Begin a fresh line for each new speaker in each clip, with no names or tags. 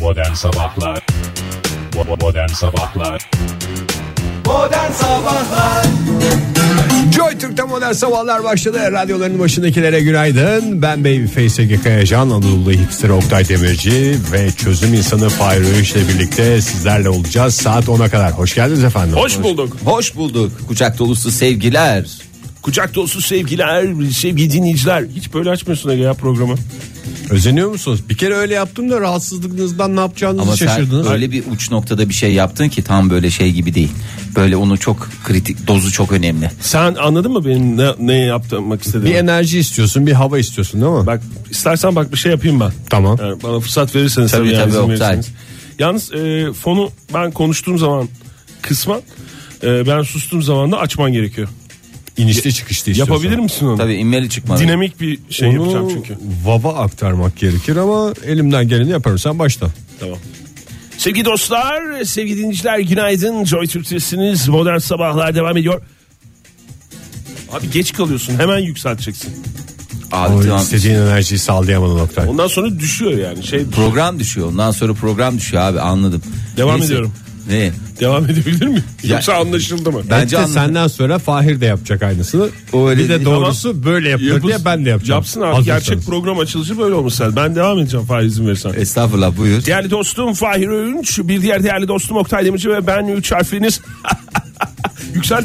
Modern Sabahlar Bo- Modern Sabahlar
Modern Sabahlar
Joy Türk'te modern sabahlar başladı. Radyoların başındakilere günaydın. Ben Babyface Ege Kayacan, Anadolu Hipster Oktay Demirci ve çözüm insanı Fahri Öğünç'le birlikte sizlerle olacağız. Saat 10'a kadar. Hoş geldiniz efendim.
Hoş bulduk.
Hoş bulduk kucak dolusu sevgiler
Kucak dolusu sevgiler, sevgili dinleyiciler. Hiç böyle açmıyorsun Ege ya programı.
Özeniyor musunuz? Bir kere öyle yaptım da rahatsızlığınızdan ne yapacağınızı
Ama
şaşırdınız.
sen öyle bir uç noktada bir şey yaptın ki tam böyle şey gibi değil Böyle onu çok kritik dozu çok önemli
Sen anladın mı benim ne, ne yapmak istediğimi?
Bir enerji istiyorsun, bir hava istiyorsun değil mi?
bak istersen bak bir şey yapayım ben.
Tamam.
Yani bana fırsat verirseniz
Tabii,
tabii, yani
tabii,
izin
Oktay.
verirseniz. Yalnız e, fonu ben konuştuğum zaman kısmen e, ben sustuğum zaman da açman gerekiyor.
İnişte çıkışta istiyorsun.
Yapabilir misin onu?
Tabii inmeli çıkmalı
Dinamik bir şey
Onu
yapacağım çünkü.
vava aktarmak gerekir ama elimden geleni yaparım. Sen başla.
Tamam. Sevgili dostlar, sevgili dinleyiciler günaydın. Joy Türkçesiniz. Modern Sabahlar devam ediyor. Abi geç kalıyorsun. Hemen yükselteceksin.
Abi,
O
tamam.
istediğin enerjiyi sağlayamadın Oktay.
Ondan sonra düşüyor yani. Şey
Program düşüyor ondan sonra program düşüyor abi anladım
Devam ediyorum.
Ne?
devam edebilir mi?
Ya-
Yoksa anlaşıldı mı?
Bence
Bence
anladım.
senden sonra Fahir de yapacak aynısını.
O öyle
bir de
değil.
doğrusu böyle yapılır diye ben de yapacağım.
Yapsın abi.
Hazırsanız. E-
Gerçek program açılışı böyle olmuş zaten. Ben devam edeceğim Fahir izin verirsen.
Estağfurullah buyur
Değerli dostum Fahir Öğünç, bir diğer değerli dostum Oktay Demirci ve ben üç harfiniz. Yükselt.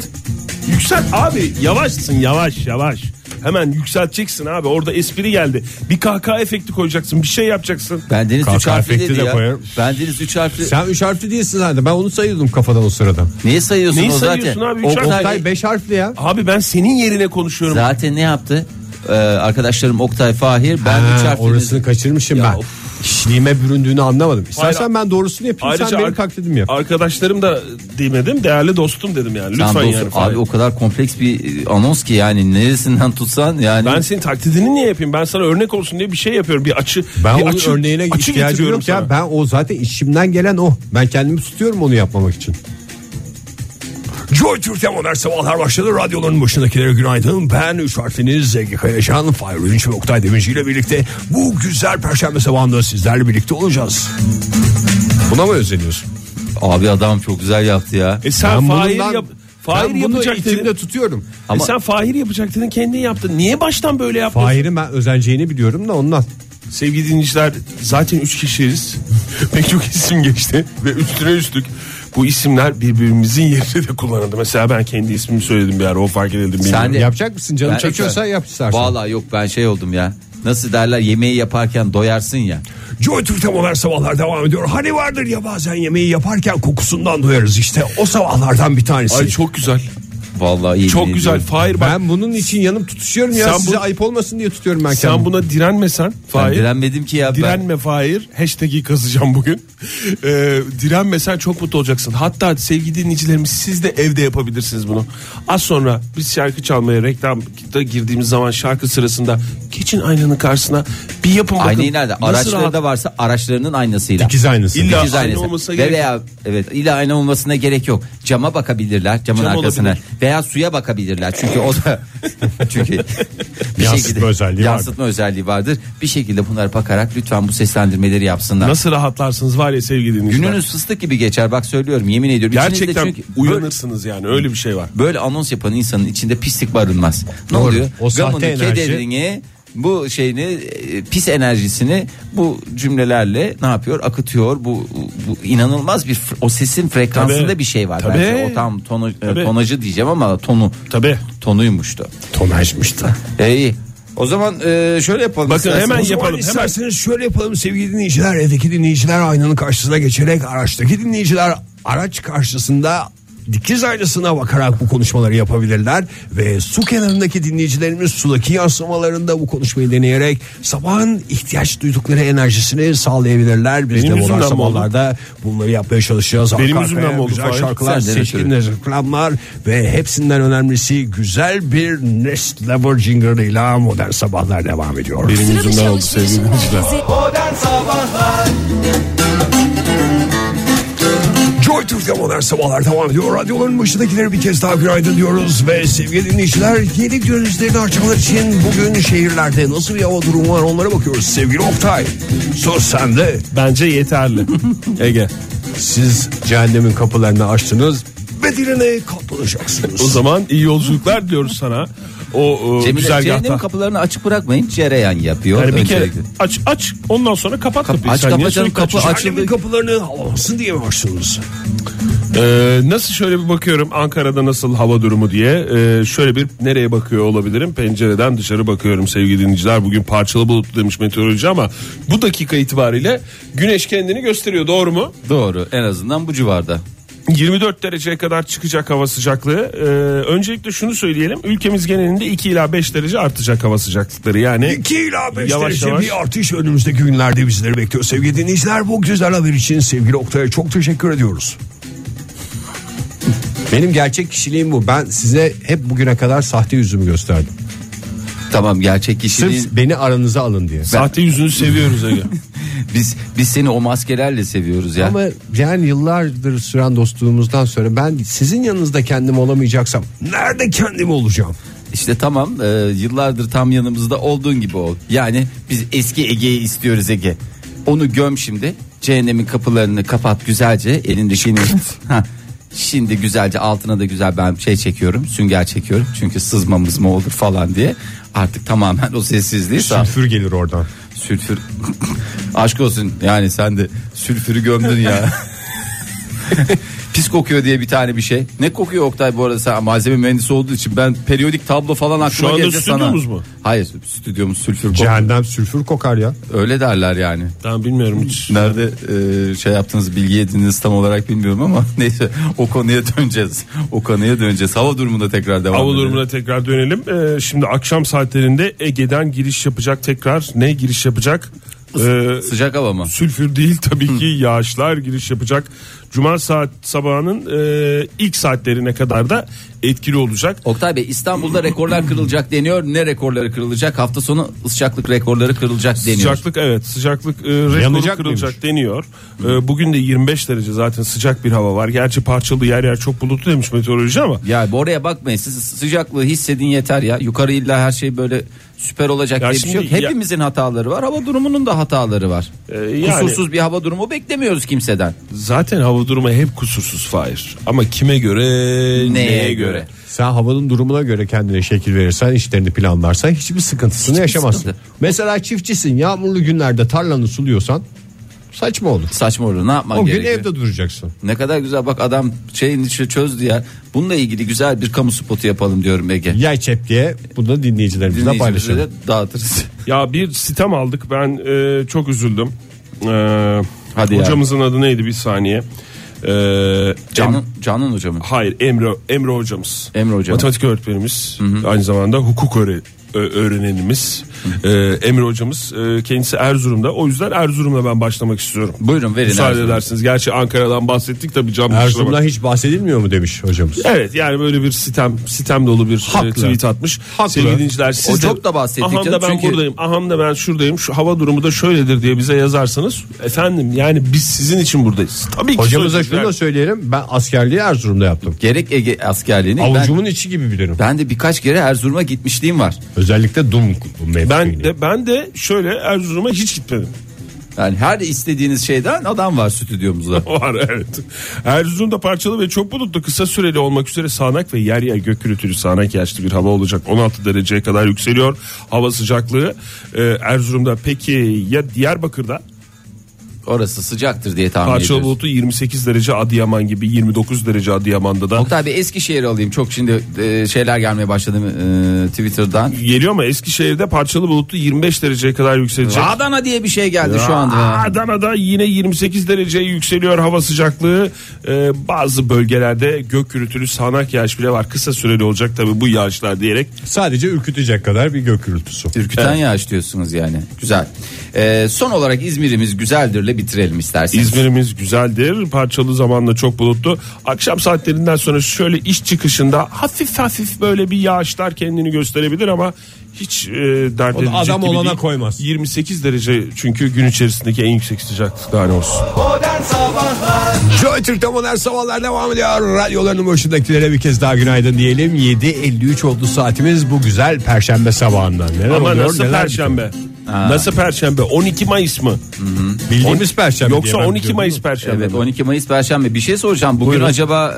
Yükselt abi yavaşsın yavaş yavaş. Hemen yükselteceksin abi orada espri geldi. Bir kahkaha efekti koyacaksın bir şey yapacaksın.
Ben Deniz
Kalk,
3 harfli
harfekti
dedi
de
ya
koyarım.
Ben Deniz 3 harfli
Sen üç harfli değilsin zaten. Ben onu sayıyordum kafadan o sırada.
Neyi sayıyorsun
Neyi
o zaten
sayıyorsun abi? Üç
Oktay-
harfli.
Oktay beş harfli ya.
Abi ben senin yerine konuşuyorum.
Zaten ne yaptı Ee, Arkadaşlarım Oktay Fahir Ben
Ha,
3 harfli
orasını kaçırmışım
Ya
ben.
of.
Kişiliğime büründüğünü anlamadım. İstersen
Hayır,
ben doğrusunu yapayım sen benim
ar-
taklidimi yap.
arkadaşlarım da demedim değerli dostum dedim yani. Lütfen
Sen dostum,
yani.
abi
Fahir.
o kadar kompleks bir e, anons ki yani neresinden tutsan yani
Ben senin taklidini niye yapayım? Ben sana örnek olsun diye bir şey yapıyorum. Bir açı
Ben
bir
onun
açı-
örneğine
açı
ihtiyacım
getiriyorum
yok ya.
sana.
Ben o zaten içimden gelen o. Ben kendimi tutuyorum onu yapmamak için. Joy Türk'te modern sabahlar başladı. Radyoların başındakilere günaydın. Ben üç harfiniz Zeki Kayaşan, Fahir Öğünç ve Oktay Demirci ile birlikte bu güzel perşembe sabahında sizlerle birlikte olacağız. Buna mı özeniyorsun?
abi adam çok güzel yaptı ya.
E sen Fahir,
bundan-
yap,
ben
Fahir
bunu
yapacak dedin.
içimde tutuyorum.
E
Ama-
sen Fahir yapacak dedin kendin yaptın. Niye baştan böyle yaptın?
Fahir'in ben özeneceğini biliyorum da ondan.
Sevgili dinleyiciler zaten 3 kişiyiz. Pek çok isim geçti ve üstüne üstlük bu isimler birbirimizin yerine de kullanıldı. Mesela ben kendi ismimi söyledim bir ara o fark edildi.
Sen de-
Yapacak mısın canım?
Ben-
Çekiyorsan yap istersen.
Vallahi yok ben şey oldum ya. Nasıl derler yemeği yaparken doyarsın ya.
Joy Türk'te modern sabahlar devam ediyor. Hani vardır ya bazen yemeği yaparken kokusundan duyarız işte. O sabahlardan bir tanesi.
Ay çok güzel.
Vallahi iyi
Çok güzel. Fahir bak
ben bunun için yanıp tutuşuyorum ya.
Sen bu-
Size ayıp olmasın diye tutuyorum ben
sen
kendimi.
buna direnmesen
Ben
Fahir.
direnmedim ki ya. Ben,
Direnme Fahir. Hashtag'i kazacağım bugün. Ee, direnmesen çok mutlu olacaksın. Hatta sevgili dinleyicilerimiz siz de evde yapabilirsiniz bunu. Az sonra biz şarkı çalmaya reklamda girdiğimiz zaman şarkı sırasında geçin aynanın karşısına bir yapın bakın.
aynayı nerede?
Nasıl
Araçları
rahat-
da varsa araçlarının aynasıyla.
İkiz aynısı.
İlla-
İkiz
Ayna
aynası.
olmasa
Ve
gerek
veya evet illa ayna olmasına gerek yok. Cama bakabilirler camın
Cam
arkasına
olabilir.
veya suya bakabilirler. Çünkü o da çünkü bir
Yansıtma özelliği
yansıtma özelliği vardır. Bir şekilde bunlara bakarak lütfen bu seslendirmeleri yapsınlar.
Nasıl rahatlarsınız var ya sevgili dinleyiciler.
Gününüz fıstık gibi geçer bak söylüyorum yemin ediyorum. İçinizde
Gerçekten
çünkü böyle,
uyanırsınız yani öyle bir şey var.
böyle anons yapan insanın içinde pislik barınmaz. Ne
Doğru.
oluyor?
O sahte
Gamını,
enerji-
kederini, bu şeyini e, pis enerjisini bu cümlelerle ne yapıyor? Akıtıyor. Bu, bu inanılmaz bir fre- o sesin frekansında
Tabii.
bir şey var
Tabii.
bence. O tam tonu, e,
Tabii.
tonajı diyeceğim ama tonu
Tabii.
tonuymuştu.
Tonajmış da.
E, iyi. O zaman e, şöyle yapalım.
Bakın
isterseniz.
hemen
O zaman
yapalım. Hemen
isterseniz şöyle yapalım sevgili dinleyiciler. Evdeki dinleyiciler aynanın karşısına geçerek araçtaki dinleyiciler araç karşısında dikiz aynasına bakarak bu konuşmaları yapabilirler ve su kenarındaki dinleyicilerimiz sudaki yansımalarında bu konuşmayı deneyerek sabahın ihtiyaç duydukları enerjisini sağlayabilirler. Biz
Benim
de
yüzümden
modern
mi oldu?
sabahlarda bunları yapmaya çalışacağız.
Benim
Arka
yüzümden
arkaya
mi oldu
Güzel
Fahir?
şarkılar,
Senden
seçkin reklamlar ve hepsinden önemlisi güzel bir Nest Lover jingle modern sabahlar devam ediyor.
Sıra dışı alışverişin merkezi.
Joy
Türk'te modern sabahlar devam ediyor. Radyoların başındakileri bir kez daha günaydın diyoruz. Ve sevgili dinleyiciler yeni gözlerini açanlar için bugün şehirlerde nasıl bir hava durumu var onlara bakıyoruz. Sevgili Oktay söz sende.
Bence yeterli. Ege.
Siz cehennemin kapılarını açtınız bedeline katlanacaksınız.
O zaman iyi yolculuklar diyoruz sana. O e,
Cemile cehennem
güzergahta.
kapılarını açık bırakmayın. Cereyan yapıyor.
Yani bir kere
öncelikle.
aç aç ondan sonra kapat kapıyı.
aç
Sen
kapı
niye
canım,
sürekli
kapı
açıyorsun?
aç.
Cehennemin kapılarını havalasın diye mi açtınız?
Ee, nasıl şöyle bir bakıyorum Ankara'da nasıl hava durumu diye Ee, şöyle bir nereye bakıyor olabilirim pencereden dışarı bakıyorum sevgili dinleyiciler bugün parçalı bulutlu demiş meteoroloji ama bu dakika itibariyle güneş kendini gösteriyor doğru mu?
Doğru en azından bu civarda.
24 dereceye kadar çıkacak hava sıcaklığı Ee, öncelikle şunu söyleyelim ülkemiz genelinde 2 ila 5 derece artacak hava sıcaklıkları yani
2 ila 5
Yavaş
derece
yavaş.
bir artış önümüzdeki günlerde bizleri bekliyor. Sevgili dinleyiciler bu güzel haber için sevgili Oktay'a çok teşekkür ediyoruz. Benim gerçek kişiliğim bu. Ben size hep bugüne kadar sahte yüzümü gösterdim.
Tamam gerçek kişiliğin
beni aranıza alın diye.
sahte yüzünü seviyoruz Ege.
biz biz seni o maskelerle seviyoruz ya.
Ama yani yıllardır süren dostluğumuzdan sonra ben sizin yanınızda kendim olamayacaksam
Nerede kendim olacağım?
İşte tamam e, yıllardır tam yanımızda olduğun gibi ol. Yani biz eski Ege'yi istiyoruz Ege. Onu göm şimdi. Cehennemin kapılarını kapat güzelce elindekini. Ha, Şimdi güzelce altına da güzel ben şey çekiyorum sünger çekiyorum çünkü sızmamız mı olur falan diye artık tamamen o sessizliği sağ
sülfür gelir oradan.
sülfür aşk olsun yani sen de sülfürü gömdün ya pis kokuyor diye bir tane bir şey ne kokuyor Oktay bu arada sen malzeme mühendisi olduğu için ben periyodik tablo falan aklıma
anda
geldi sana
stüdyomuz mu?
hayır stüdyomuz sülfür kokuyor.
Cehennem sülfür kokar ya.
öyle derler yani
tamam bilmiyorum hiç.
nerede e, şey yaptığınız bilgi edindiniz tam olarak bilmiyorum ama neyse o konuya döneceğiz o konuya döneceğiz hava durumunda tekrar devam
Hava
edelim.
durumuna tekrar dönelim. Ee, şimdi akşam saatlerinde Ege'den giriş yapacak tekrar. Ne giriş yapacak? Ee,
sıcak hava mı
sülfür değil tabii ki yağışlar giriş yapacak. Cuma saat sabahının e, ilk saatlerine kadar da etkili olacak.
Oktay Bey İstanbul'da rekorlar kırılacak deniyor. Ne rekorları kırılacak? Hafta sonu sıcaklık rekorları kırılacak deniyor.
Sıcaklık evet sıcaklık e, rekoru
Yanacak
kırılacak
mıymış?
deniyor. E, bugün de 25 derece zaten sıcak bir hava var. Gerçi parçalı yer yer çok bulutlu demiş meteoroloji ama
Ya bu oraya bakmayın siz sıcaklığı hissedin yeter ya. Yukarı illa her şey böyle süper olacak
Ya
diye bir şey yok.
şimdi ya-
Hepimizin hataları var. Hava durumunun da hataları var.
Ee, yani-
Kusursuz bir hava durumu beklemiyoruz kimseden.
zaten hava durumu hep kusursuz Fahir. Ama kime göre neye, göre?
Sen havanın durumuna göre kendine şekil verirsen işlerini planlarsan hiçbir sıkıntısını
Hiçbir
yaşamazsın.
sıkıntı.
Mesela çiftçisin yağmurlu günlerde tarlanı suluyorsan saçma olur.
Saçma olur ne yapman
O gün
gerekiyor?
evde duracaksın.
Ne kadar güzel bak adam şeyin içi çözdü ya. Bununla ilgili güzel bir kamu spotu yapalım diyorum Ege.
Yay çep diye bunu da dinleyicilerimizle
Dinleyicimize
paylaşalım.
de dağıtırız.
Ya bir sitem aldık ben e, çok üzüldüm. E,
Hadi ya.
hocamızın adı neydi bir saniye. E,
Canan, Canan hocamın.
Hayır Emre Emre hocamız.
Emre hocam.
Matematik öğretmenimiz. Aynı zamanda hukuk öğre- ö- öğrenenimiz. Ee, Emre hocamız e, kendisi Erzurum'da. O yüzden Erzurum'la ben başlamak istiyorum.
Buyurun verin.
Müsaade
Erzurum.
edersiniz. Gerçi Ankara'dan bahsettik tabii cam
şey
dışına bak-
Erzurum'dan hiç bahsedilmiyor mu demiş hocamız.
Evet yani böyle bir sitem sitem dolu bir e, tweet atmış.
Haklı.
Sevgili dinleyiciler siz
O çok da bahsettik
Aham
canım
da ben
çünkü-
buradayım. Aham da ben şuradayım. Şu hava durumu da şöyledir diye bize yazarsanız efendim yani biz sizin için buradayız. Tabii ki
Hocamıza şunu
söyleyecekler.
da söyleyelim ben askerliği Erzurum'da yaptım.
Gerek Ege askerliğini. Ben-
Avucumun içi gibi bilirim.
Ben de birkaç kere Erzurum'a gitmişliğim var.
Özellikle Dum mevkiini.
ben de ben de şöyle Erzurum'a hiç gitmedim.
Yani her istediğiniz şeyden adam var stüdyomuzda.
Var evet. Erzurum'da parçalı ve çok bulutlu kısa süreli olmak üzere sağanak ve yer yer gök gürültülü sağanak yağışlı bir hava olacak. 16 dereceye kadar yükseliyor hava sıcaklığı. Ee, Erzurum'da peki ya Diyarbakır'da
Orası sıcaktır diye tahmin
parçalı
ediyoruz.
bulutlu 28 derece Adıyaman gibi 29 derece Adıyaman'da da.
Oktay bir Eskişehir'i alayım. Çok şimdi e, şeyler gelmeye başladı e, Twitter'dan.
Geliyor ama Eskişehir'de parçalı bulutlu 25 dereceye kadar yükselecek.
Adana diye bir şey geldi şu anda.
Adana'da yine 28 dereceye yükseliyor hava sıcaklığı. Ee, bazı bölgelerde gök gürültülü sağanak yağış bile var. Kısa süreli olacak tabii bu yağışlar diyerek
Sadece ürkütecek kadar bir gök gürültüsü.
Ürküten yağış diyorsunuz yani. Güzel. E, son olarak İzmir'imiz güzeldirle bitirelim isterseniz.
İzmir'imiz güzeldir. Parçalı zamanla çok bulutlu. Akşam saatlerinden sonra şöyle iş çıkışında hafif hafif böyle bir yağışlar kendini gösterebilir ama hiç e, dert edilecek
adam
gibi
olana
değil.
koymaz.
28 derece çünkü gün içerisindeki en yüksek sıcaklık daha ne olsun.
Joy Türk'te modern sabahlar devam ediyor. Radyolarının başındakilere bir kez daha günaydın diyelim. 7.53 oldu saatimiz bu güzel perşembe sabahından. Neler
Ama
oluyor,
nasıl
neler
perşembe? Nasıl perşembe? 12 Mayıs mı?
bitiyor? Bildiğimiz perşembe.
Yoksa
diye ben
12
biliyorum.
Mayıs perşembe
Evet
mi?
12 Mayıs Perşembe. Bir şey soracağım. Bugün
Buyurun.
acaba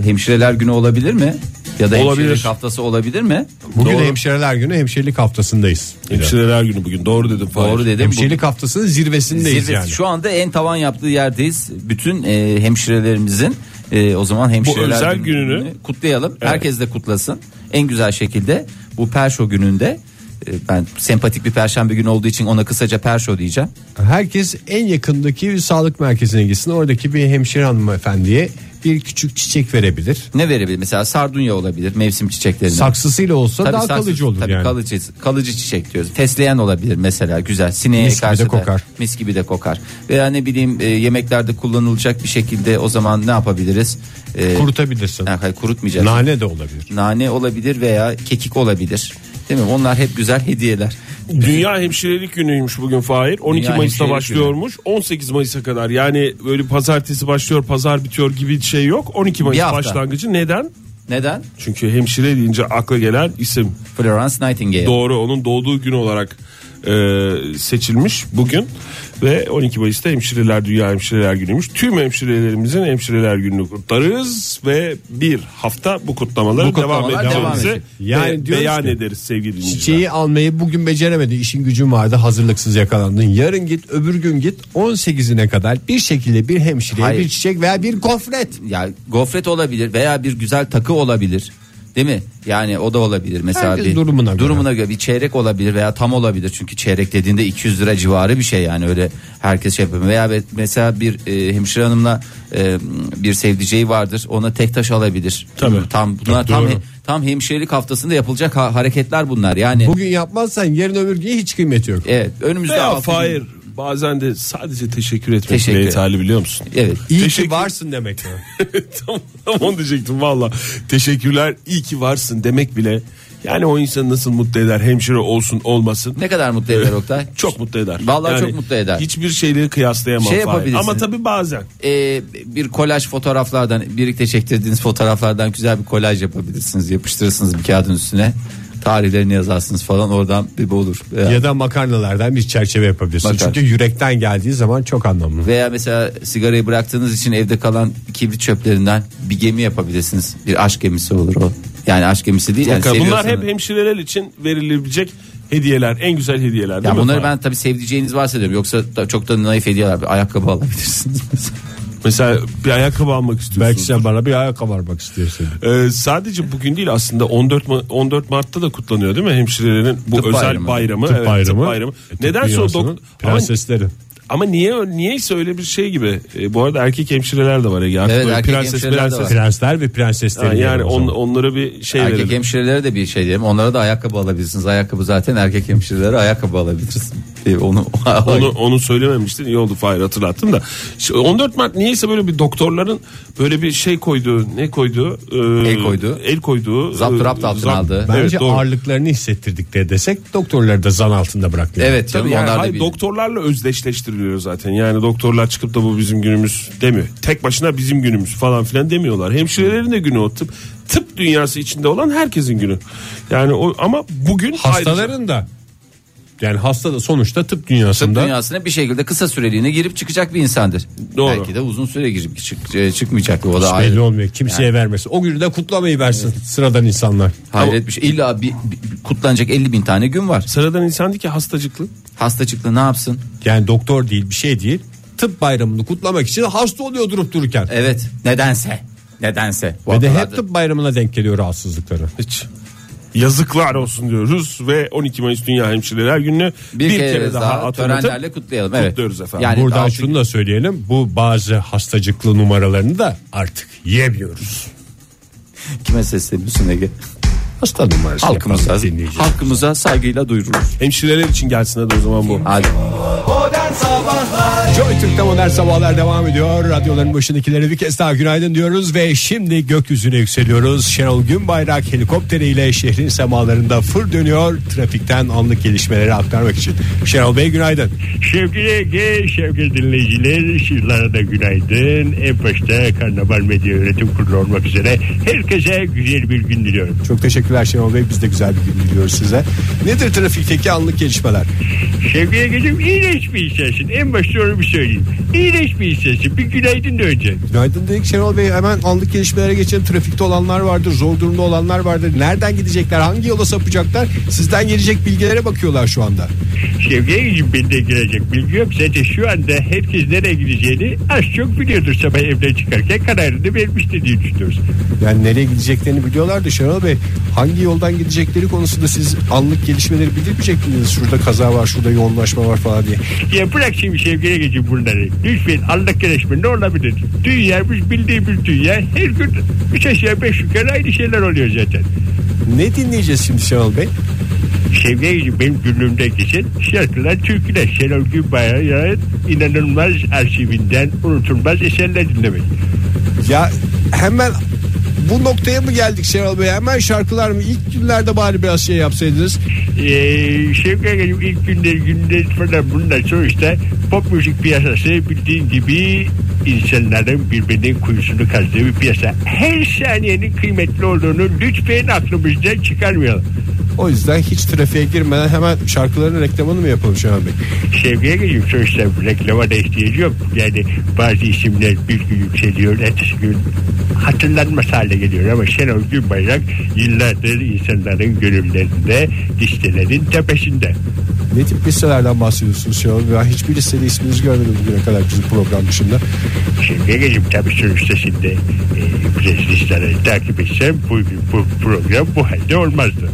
e, hemşireler günü olabilir mi? Ya da
Olabilir.
hemşirelik haftası olabilir mi?
Bugün
Doğru.
hemşireler günü hemşirelik haftasındayız.
Hemşireler günü bugün. Doğru dedim. Fahir.
Doğru dedim. Bu-
Hemşirelik haftasının zirvesindeyiz
Zirvesi.
yani.
Şu anda en tavan yaptığı yerdeyiz. Bütün e, hemşirelerimizin e, o zaman hemşireler
özel
gününü
gününü-
kutlayalım. Herkes de kutlasın. En güzel şekilde bu Perşo gününde e, ben sempatik bir perşembe günü olduğu için ona kısaca Perşo diyeceğim.
Herkes en yakındaki bir sağlık merkezine gitsin. Oradaki bir hemşire hanımefendiye bir küçük çiçek verebilir.
Ne verebilir? Mesela sardunya olabilir mevsim çiçeklerinden.
Saksısıyla olsa
Tabii
daha
saksı-
kalıcı olur
tabii
yani.
Kalıcı, kalıcı çiçek diyoruz. Fesleğen olabilir mesela güzel. Sineğe
Mis gibi
karşı
de
da
kokar.
Mis gibi de kokar. Veya ne bileyim e, yemeklerde kullanılacak bir şekilde o zaman ne yapabiliriz? E,
Kurutabilirsin.
yani hayır, kurutmayacağız. Nane.
Nane de olabilir.
olabilir veya kekik olabilir. Değil mi? Onlar hep güzel hediyeler.
Dünya Hemşirelik Günü'ymüş bugün Fahir. 12
Dünya
Mayıs'ta
Hemşirelik
başlıyormuş. 18 Mayıs'a kadar. Yani böyle pazartesi başlıyor, pazar bitiyor gibi bir şey yok. 12 Mayıs
Bir hafta.
başlangıcı. Neden?
Neden?
Çünkü hemşire deyince akla gelen isim.
Florence Nightingale.
Doğru onun doğduğu gün olarak e, seçilmiş bugün ve 12 Mayıs'ta hemşireler dünya hemşireler günüymüş. Tüm hemşirelerimizin hemşireler gününü kutlarız ve bir hafta bu kutlamalara
Bu kutlamalar
devam edeceğimizi
devam edecek.
Yani
yani
diyoruz
beyan
ki,
ederiz sevgili dinleyiciler.
Çiçeği almayı bugün beceremedi. İşin gücün vardı. Hazırlıksız yakalandın. Yarın git, öbür gün git. 18'ine kadar bir şekilde bir hemşireye
Hayır.
bir çiçek veya bir gofret.
Ya gofret olabilir veya bir güzel takı olabilir. Değil mi? Yani o da olabilir mesela
Herkes
bir
durumuna göre.
durumuna göre bir çeyrek olabilir veya tam olabilir. Çünkü çeyrek dediğinde 200 lira civarı bir şey yani öyle herkes şey yapıyor. Veya be- mesela bir e, hemşire hanımla e, bir sevdiceği vardır. Ona tek taş alabilir.
Tabii.
Tam bunlar tam he- tam hemşirelik haftasında yapılacak ha- hareketler bunlar. Yani
Bugün yapmazsan yarın öbür gün hiç kıymeti yok.
evet önümüzde
Veya
altı gün-
Fahir bazen de sadece teşekkür etmek
Teşekkür.
bile yeterli biliyor musun?
Evet.
İyi ki
Teşekkür-
varsın demek.
tam, tam onu diyecektim valla. Teşekkürler iyi ki varsın demek bile yani o insanı nasıl mutlu eder hemşire olsun olmasın.
Ne kadar mutlu eder Oktay?
Çok mutlu eder.
Vallahi çok mutlu eder.
Hiçbir şeyleri kıyaslayamam.
Şey
Fahir.
yapabilirsin.
Ama tabii bazen.
e, bir kolaj fotoğraflardan birlikte çektirdiğiniz fotoğraflardan güzel bir kolaj yapabilirsiniz. Yapıştırırsınız bir kağıdın üstüne. Tarihlerini yazarsınız falan oradan bir bu olur. Veya,
ya da makarnalardan bir çerçeve yapabilirsin.
Bakar.
Çünkü yürekten geldiği zaman çok anlamlı.
veya mesela sigarayı bıraktığınız için evde kalan kibrit çöplerinden bir gemi yapabilirsiniz. Bir aşk gemisi olur o. Yani aşk gemisi değil. Yani
Bakın bunlar
seviyorsanız.
hep hemşireler için verilebilecek hediyeler. En güzel hediyeler değil
ya
mi?
bunları
Fahir?
ben tabii sevdiceğiniz varsa diyorum. Yoksa da çok da naif hediyeler. Bir ayakkabı alabilirsiniz.
Mesela bir ayakkabı almak istiyorsun.
Belki sen bana bir ayakkabı almak istiyorsun.
Ee, sadece bugün değil aslında 14 Ma- 14 Mart'ta da kutlanıyor değil mi hemşirelerin bu
Tıp
özel
bayramı.
bayramı.
Tıp
evet, tıp
bayramı.
bayramı.
E, tıp
Nedense o
dünyasının
dok- ama
prenseslerin.
Ama niye niyeyse öyle bir şey gibi. E, bu arada erkek hemşireler de var Ege.
Evet,
Böyle
erkek
prenses,
hemşireler de
prenses.
var.
Prensler ve prenseslerin.
Ha, yani
o
on,
zaman.
onlara bir şey
erkek
verelim.
hemşirelere de bir şey diyelim. Onlara da ayakkabı alabilirsiniz. Ayakkabı zaten erkek hemşirelere ayakkabı alabilirsiniz. Diye Onu,
onu, onu söylememiştin iyi oldu Fahir hatırlattın da. Şu 14 Mart niyeyse böyle bir doktorların böyle bir şey koyduğu ne koyduğu? e,
El koyduğu.
El koyduğu. e,
Zapturapt altına aldığı.
Bence
evet, doğru.
ağırlıklarını hissettirdik de desek doktorları da zan altında bırakıyor.
Evet
Tabii
canım
yani
onlar da
hayır,
bir...
doktorlarla özdeşleştiriliyor zaten. Yani doktorlar çıkıp da bu bizim günümüz demiyor. Tek başına bizim günümüz falan filan demiyorlar. Hemşirelerin de günü o tıp. Tıp dünyası içinde olan herkesin günü. Yani o ama bugün ayrıca-
Hastaların da yani hasta da sonuçta tıp dünyasında
Tıp dünyasına bir şekilde kısa süreliğine girip çıkacak bir insandır.
Doğru.
Belki de uzun süre girip çık, e, çıkmayacak o da
belli
ayrı.
olmuyor. Kimseye vermesin. O günü de kutlamayı versin sıradan insanlar.
Hayret bir şey. İlla bir, bir- kutlanacak 50 bin tane gün var.
Sıradan insan değil ki hastacıklı.
Hasta çıktı ne yapsın?
Yani doktor değil bir şey değil. Tıp bayramını kutlamak için hasta oluyor durup dururken.
Evet nedense. Nedense. Bu
Ve de hep
haftalarda-
tıp bayramına denk geliyor rahatsızlıkları.
Hiç. Yazıklar olsun diyoruz ve 12 Mayıs Dünya Hemşireler Günü'nü bir, kere, daha, hatırlatıp
törenlerle kutlayalım. Evet.
kutluyoruz efendim.
Yani
Buradan
altı-
şunu da söyleyelim. Bu bazı hastacıklı numaralarını da artık yemiyoruz.
kime sesleniyorsun Ege?
Hasta numarası
Halkımıza,
yapan dinleyici.
halkımıza saygıyla duyururuz.
Hemşireler için gelsin hadi o zaman bu.
Hadi.
Joy Modern Sabahlar devam ediyor. Radyoların başındakilere bir kez daha günaydın diyoruz ve şimdi gökyüzüne yükseliyoruz. Şenol Günbayrak helikopteriyle şehrin semalarında fır dönüyor. Trafikten anlık gelişmeleri aktarmak için. Şenol Bey günaydın.
Sevgili Ege, sevgili dinleyiciler, sizlere de günaydın. En başta Karnaval Medya Öğretim Kurulu olmak üzere herkese güzel bir gün diliyorum.
Çok teşekkürler Şenol Bey. Biz de güzel bir gün diliyoruz size. Nedir trafikteki anlık gelişmeler?
Sevgili Ege'cim iyileş bir insansın. En başta onu bir şey söyleyeyim. İyileş bir insansın. Bir günaydın da önce.
Günaydın dedik Şenol Bey. Hemen anlık gelişmelere geçelim. Trafikte olanlar vardır, zor durumda olanlar vardır. Nereden gidecekler, hangi yola sapacaklar? Sizden gelecek bilgilere bakıyorlar şu anda.
Sevgili Ege'cim bende gelecek bilgi yok. Zaten şu anda herkes nereye gideceğini az çok biliyordur sabah evden çıkarken kararını vermişti diye düşünüyoruz.
Yani nereye gideceklerini biliyorlardı Şenol Bey. Hangi yoldan gidecekleri konusunda siz anlık gelişmeleri bildirmeyecek miydiniz? Şurada kaza var, şurada yoğunlaşma var falan diye.
Ya bırak şimdi sevgili Ege'cim bunları. Lütfen Allah gelişme ne olabilir? Dünya biz bildiğimiz dünya her gün üç aşağı beş yukarı aynı şeyler oluyor zaten.
Ne dinleyeceğiz şimdi Şenol Bey?
Sevgili Ege'cim benim günlüğümde geçen şarkılar, türküler, Şenol Gümbayar'ın inanılmaz arşivinden unutulmaz eserler dinlemek.
Ya hemen bu noktaya mı geldik Şenol Bey? Hemen şarkılar mı? İlk günlerde bari biraz şey yapsaydınız.
Ee, Şevki Ege'cim ilk günler günler falan bunlar sonuçta pop müzik piyasası bildiğin gibi insanların birbirinin kuyusunu kazdığı bir piyasa. Her saniyenin kıymetli olduğunu lütfen aklımızdan çıkarmayalım.
O yüzden hiç trafiğe girmeden hemen şarkıların reklamını mı yapalım Şenol Bey?
Sevgiye geliyor sonuçta reklama da ihtiyacı yok. Yani bazı isimler bir gün yükseliyor, ertesi gün hatırlanmaz hale geliyor. Ama Şenol Günbayrak yıllardır insanların gönüllerinde, listelerin tepesinde.
Ne tip listelerden bahsediyorsunuz Şenol Bey? Ben hiçbir listede isminizi görmedim bugüne kadar bizim program dışında.
Sevgiye geliyor tabii sonuçta şimdi e, biraz listeleri takip etsem bu, bu program bu halde olmazdı.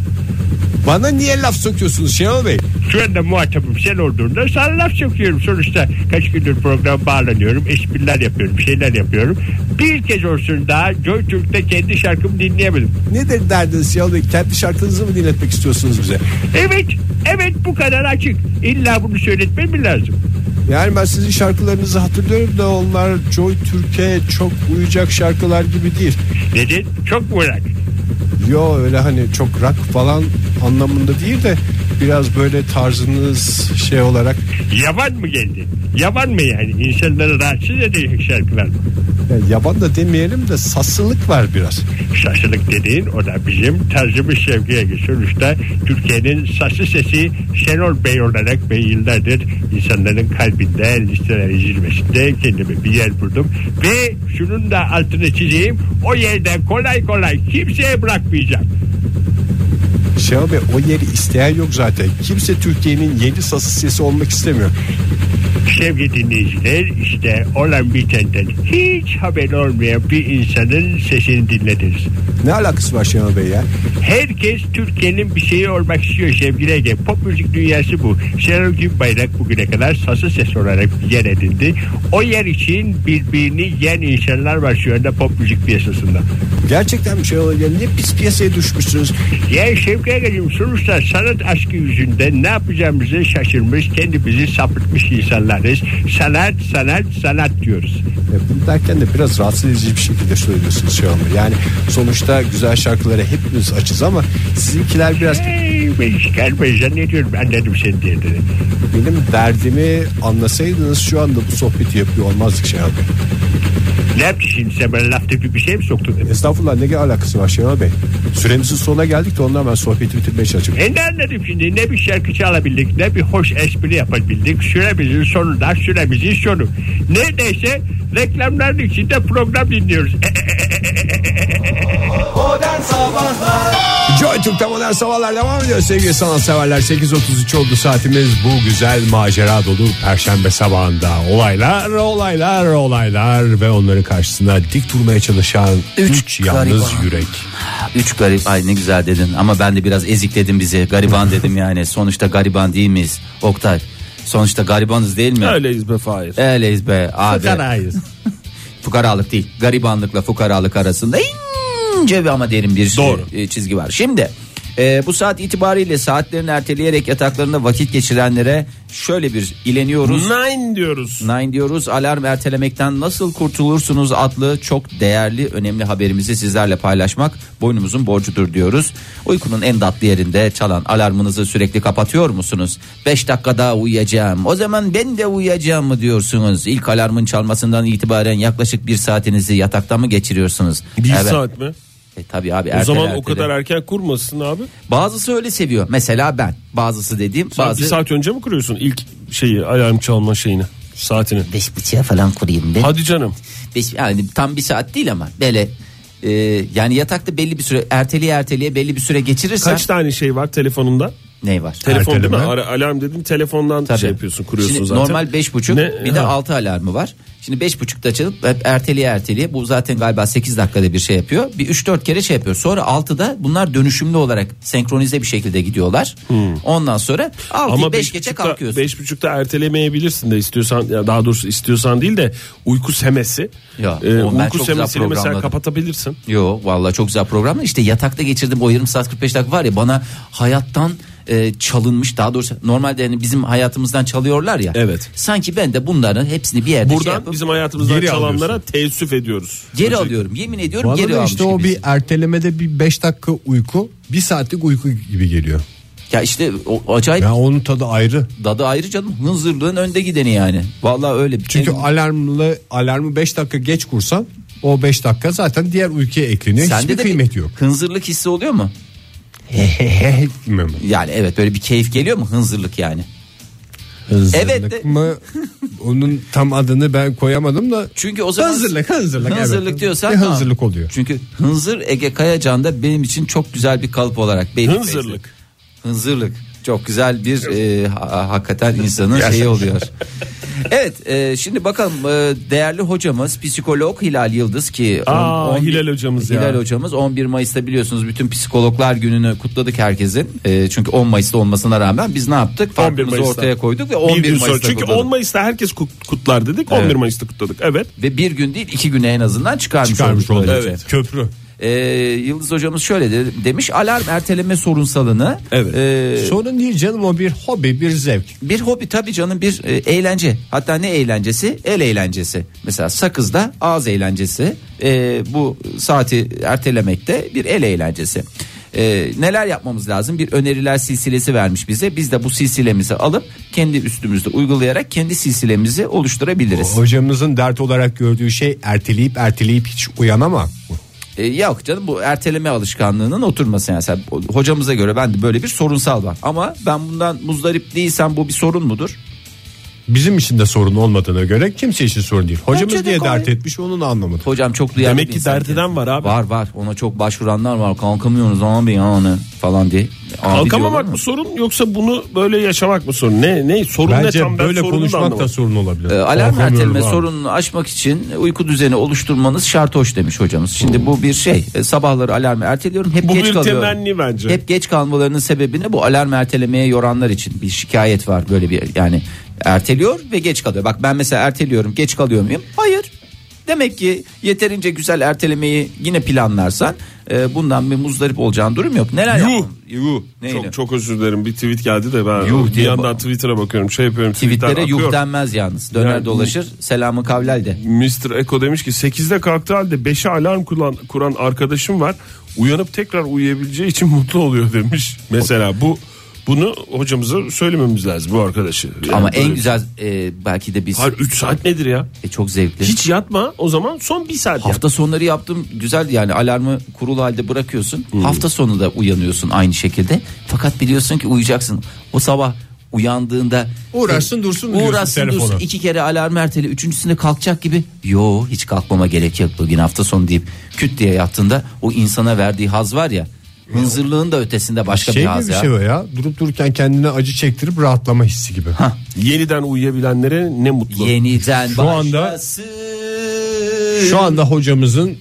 Bana niye laf sokuyorsunuz Şenol Bey?
Şu anda muhatabım sen olduğunda sana laf sokuyorum. Sonuçta kaç gündür program bağlanıyorum. Espriler yapıyorum. Şeyler yapıyorum. Bir kez olsun daha Joy Türk'te kendi şarkımı dinleyemedim.
Nedir derdiniz Şenol Bey? Kendi şarkınızı mı dinletmek istiyorsunuz bize?
Evet. Evet bu kadar açık. İlla bunu söyletmem mi lazım?
Yani ben sizin şarkılarınızı hatırlıyorum da onlar Joy Türk'e çok uyacak şarkılar gibi değil.
Neden? Çok merak.
Yo öyle hani çok rock falan anlamında değil de biraz böyle tarzınız şey olarak
Yaban mı geldi? Yaban mı yani? İnsanları rahatsız edecek şarkılar mı?
yani yaban da demeyelim de sasılık var biraz.
Sasılık dediğin o da bizim tarzımız sevgiye Sonuçta Türkiye'nin sası sesi Şenol Bey olarak ve yıllardır insanların kalbinde listeler zirvesinde kendime bir yer buldum. Ve şunun da altını çizeyim o yerden kolay kolay kimseye bırakmayacağım.
Şenol Bey Şey o yeri isteyen yok zaten. Kimse Türkiye'nin yeni sası sesi olmak istemiyor.
Sevgili dinleyiciler işte olan bitenden hiç haber olmayan bir insanın sesini dinlediniz.
Ne alakası var Şenol Bey ya?
Herkes Türkiye'nin bir şeyi olmak istiyor sevgili Ege. Pop müzik dünyası bu. Şenol Günbayrak bugüne kadar sası ses olarak yer edindi. O yer için birbirini yen insanlar var şu anda pop müzik piyasasında.
Gerçekten bir şey olabilir. Ne pis piyasaya düşmüşsünüz.
Ya Şevki Ege'cim sonuçta sanat aşkı yüzünden ne yapacağımızı şaşırmış, kendimizi sapıtmış insanlarız. Sanat, sanat, sanat diyoruz.
E, Bunu derken de biraz rahatsız edici bir şekilde söylüyorsunuz Şenol Bey. Yani sonuçta güzel şarkılara hepimiz açız ama sizinkiler biraz
Hey, ben çıkarmayı zannediyorum anladım seni diye dedi.
benim derdimi anlasaydınız şu anda bu sohbeti yapıyor olmazdık Şenol Bey.
Ne yaptı şimdi sen bana laf tepki bir şey mi soktun?
Estağfurullah ne alakası var Şenol Bey? Süremizin sonuna geldik de ondan ben sohbeti bitirmeye çalışıyorum.
E ne anladım şimdi ne bir şarkı çalabildik ne bir hoş espri yapabildik süremizin sonunda süremizin sonu. Neredeyse reklamların içinde program dinliyoruz.
Joy Türk'te modern sabahlar devam ediyor sevgili sanatseverler. 8.33 oldu saatimiz bu güzel macera dolu perşembe sabahında. Olaylar, olaylar, olaylar ve onların karşısında dik durmaya çalışan
Üç
3 yalnız
gariban.
yürek.
Üç garip ay ne güzel dedin ama ben de biraz ezikledim bizi gariban dedim yani sonuçta gariban değil miyiz Oktay sonuçta garibanız değil mi?
Öyleyiz be Fahir.
Öyleyiz be abi.
Fukarayız.
Fukaralık değil garibanlıkla fukaralık arasında ince bir ama derin bir Doğru. e, çizgi var. Şimdi Ee, bu saat itibariyle saatlerini erteleyerek yataklarında vakit geçirenlere şöyle bir ileniyoruz.
Nine diyoruz.
Nine diyoruz alarm ertelemekten nasıl kurtulursunuz adlı çok değerli önemli haberimizi sizlerle paylaşmak boynumuzun borcudur diyoruz. Uykunun en tatlı yerinde çalan alarmınızı sürekli kapatıyor musunuz? 5 dakika daha uyuyacağım o zaman ben de uyuyacağım mı diyorsunuz? İlk alarmın çalmasından itibaren yaklaşık bir saatinizi yatakta mı geçiriyorsunuz?
Bir
Evet.
saat mi?
E, tabii abi
O
ertele,
zaman o
ertele.
kadar erken kurmasın abi.
Bazısı öyle seviyor mesela ben bazısı dediğim
Sen
bazı
bir saat önce mi kuruyorsun ilk şeyi alarm çalma şeyini saatini?
Beş buçuğa falan kurayım ben.
Hadi canım.
Beş- yani tam bir saat değil ama böyle e, yani yatakta belli bir süre erteleye erteleye belli bir süre geçirirsen
Kaç tane şey var telefonunda?
ne var?
Telefon değil mi?
Erteleme.
Ara, alarm dedim telefondan
Tabii.
şey yapıyorsun kuruyorsun
Şimdi
zaten.
Normal beş buçuk
Ne-
bir de
Ha.
altı alarmı var. Şimdi beş buçukta açılıp hep erteleye erteleye bu zaten galiba 8 dakikada bir şey yapıyor. Bir 3-4 kere şey yapıyor. Sonra 6'da bunlar dönüşümlü olarak senkronize bir şekilde gidiyorlar.
Hmm.
Ondan sonra 6'yı 5
beş
geçe
buçukta-
kalkıyorsun.
Beş buçukta ertelemeyebilirsin de istiyorsan ya daha doğrusu istiyorsan değil de uyku semesi.
Ya,
Ee,
o ben
uyku
çok güzel
semesini mesela
programladım.
kapatabilirsin.
Yo vallahi çok güzel program. İşte yatakta geçirdim o yarım saat 45 dakika var ya bana hayattan e, çalınmış daha doğrusu normalde yani bizim hayatımızdan çalıyorlar ya.
Evet.
Sanki ben de bunların hepsini bir yerde şey
Buradan
yapıp
bizim hayatımızdan
Geri
çalanlara teessüf ediyoruz.
geri alıyorum. Yemin ediyorum
Bana
geri
da
almış
işte o bir
gibiyiz.
ertelemede bir 5 dakika uyku, bir saatlik uyku gibi geliyor.
Ya işte o acayip
Ya onun tadı ayrı.
dadı ayrı canım. Hınzırlığın önde gideni yani. Vallahi öyle. bir-
Çünkü
Ev-
alarmlı alarmı 5 dakika geç kursan o 5 dakika zaten diğer uykuya ekleniyor. Hiçbir
bir
kıymeti yok.
Hınzırlık hissi oluyor mu? Yani evet böyle bir keyif geliyor mu hınzırlık yani?
Hınzırlık
Evet de-
mı? Onun tam adını ben koyamadım da.
Çünkü o zaman
Hınzırlık, hınzırlık,
hınzırlık
evet.
diyorsan
Bir
tamam.
hınzırlık oluyor.
Çünkü hınzır Ege Kayacan da benim için çok güzel bir kalıp olarak Beylikdüzü.
Hınzırlık.
Hınzırlık. Çok güzel bir e, ha- hakikaten insanın şeyi oluyor. Evet e, şimdi bakalım e, değerli hocamız psikolog Hilal Yıldız ki on-
Aa,
on bir-
Hilal hocamız ya.
Hilal hocamız 11 Mayıs'ta biliyorsunuz bütün psikologlar gününü kutladık herkesin. E, çünkü 10 Mayıs'ta olmasına rağmen biz ne yaptık?
11
Farkımızı
Mayıs'ta.
ortaya koyduk ve
Bir
11
gün sonra.
Mayıs'ta
Çünkü
kutladık.
10 Mayıs'ta herkes kut- kutlar dedik 11 Mayıs'ta kutladık evet.
ve bir gün değil iki güne en azından çıkarmış,
Çıkarmış
olduk.
olduk.
böylece.
Köprü.
Ee, Yıldız hocamız şöyle de, demiş alarm erteleme sorunsalını
Evet.
e,
Sorun değil canım o bir hobi bir zevk.
bir hobi tabii canım bir e, eğlence hatta ne eğlencesi el eğlencesi mesela sakızda ağız eğlencesi E, bu saati ertelemekte bir el eğlencesi E, neler yapmamız lazım bir öneriler silsilesi vermiş bize biz de bu silsilemizi alıp kendi üstümüzde uygulayarak kendi silsilemizi oluşturabiliriz.
Hocamızın dert olarak gördüğü şey erteleyip erteleyip hiç uyanama.
E, yok canım bu erteleme alışkanlığının oturması yani. Sen, hocamıza göre bende böyle bir sorunsal var. Ama ben bundan muzdarip değilsem bu bir sorun mudur?
Bizim için de sorun olmadığına göre kimse için sorun değil. Hocamız
Bence de
diye
kolay.
dert etmiş onu anlamadım.
Hocam çok duyarlı
Demek
bir
ki
insan.
dert eden var abi.
Var var ona çok başvuranlar var kalkamıyoruz abi yani falan diye. Abi diyorlar
Kalkamamak
mı?
mı sorun yoksa bunu böyle yaşamak mı sorun? Ne ne sorun ne
Bence
tam ben
böyle
sorunu da
konuşmak da
anlamadım.
sorun olabilir.
E, alarm
Korkamıyorum
erteleme
abi.
sorununu aşmak için uyku düzeni oluşturmanız şart hoş demiş hocamız. Şimdi bu bir şey. E, sabahları alarmı erteliyorum hep
Bu
geç
bir
kalıyorum.
temenni bence.
Hep geç kalmalarının sebebi ne? Bu alarm ertelemeye yoranlar için bir şikayet var böyle bir yani erteliyor ve geç kalıyor. Bak ben mesela erteliyorum, geç kalıyor muyum? Hayır. Demek ki yeterince güzel ertelemeyi yine planlarsan e, bundan bir muzdarip olacağın durum yok. Neler
Yuh.
yaptın? Yuh. Neyine?
Çok, çok özür dilerim bir tweet geldi de ben
Yuh
bir
diye
yandan
bak-
Twitter'a bakıyorum şey yapıyorum
Tweetlere
tweet'ten
yuh
akıyor.
denmez yalnız. Döner
Yani-
dolaşır selamı kavlel de.
Mr. Eko demiş ki 8'de kalktığı halde 5'e alarm kuran, kuran arkadaşım var. Uyanıp tekrar uyuyabileceği için mutlu oluyor demiş. Mesela bu bunu hocamıza söylememiz lazım bu arkadaşı. Yani
Ama en
böyle-
güzel e, belki de biz
Hayır 3 saat nedir ya?
e, çok zevkli.
Hiç yatma o zaman son 1 saat yat.
Hafta sonları yaptım güzel yani alarmı kurul halde bırakıyorsun. Hafta sonu da uyanıyorsun aynı şekilde. Fakat biliyorsun ki uyuyacaksın. O sabah uyandığında e,
Uğraşsın dursun mu diyorsun
uğraşsın
telefona?
dursun iki kere alarm erteli üçüncüsünde kalkacak gibi yo hiç kalkmama gerek yok bugün hafta sonu deyip küt diye yattığında o insana verdiği haz var ya hınzırlığın da ötesinde başka
Şey
bir
gibi
haz
bir
ya.
şey o ya. Durup dururken kendine acı çektirip rahatlama hissi gibi.
Yeniden uyuyabilenlere ne mutlu.
Yeniden
Şu anda-
başlasın.
Şu anda hocamızın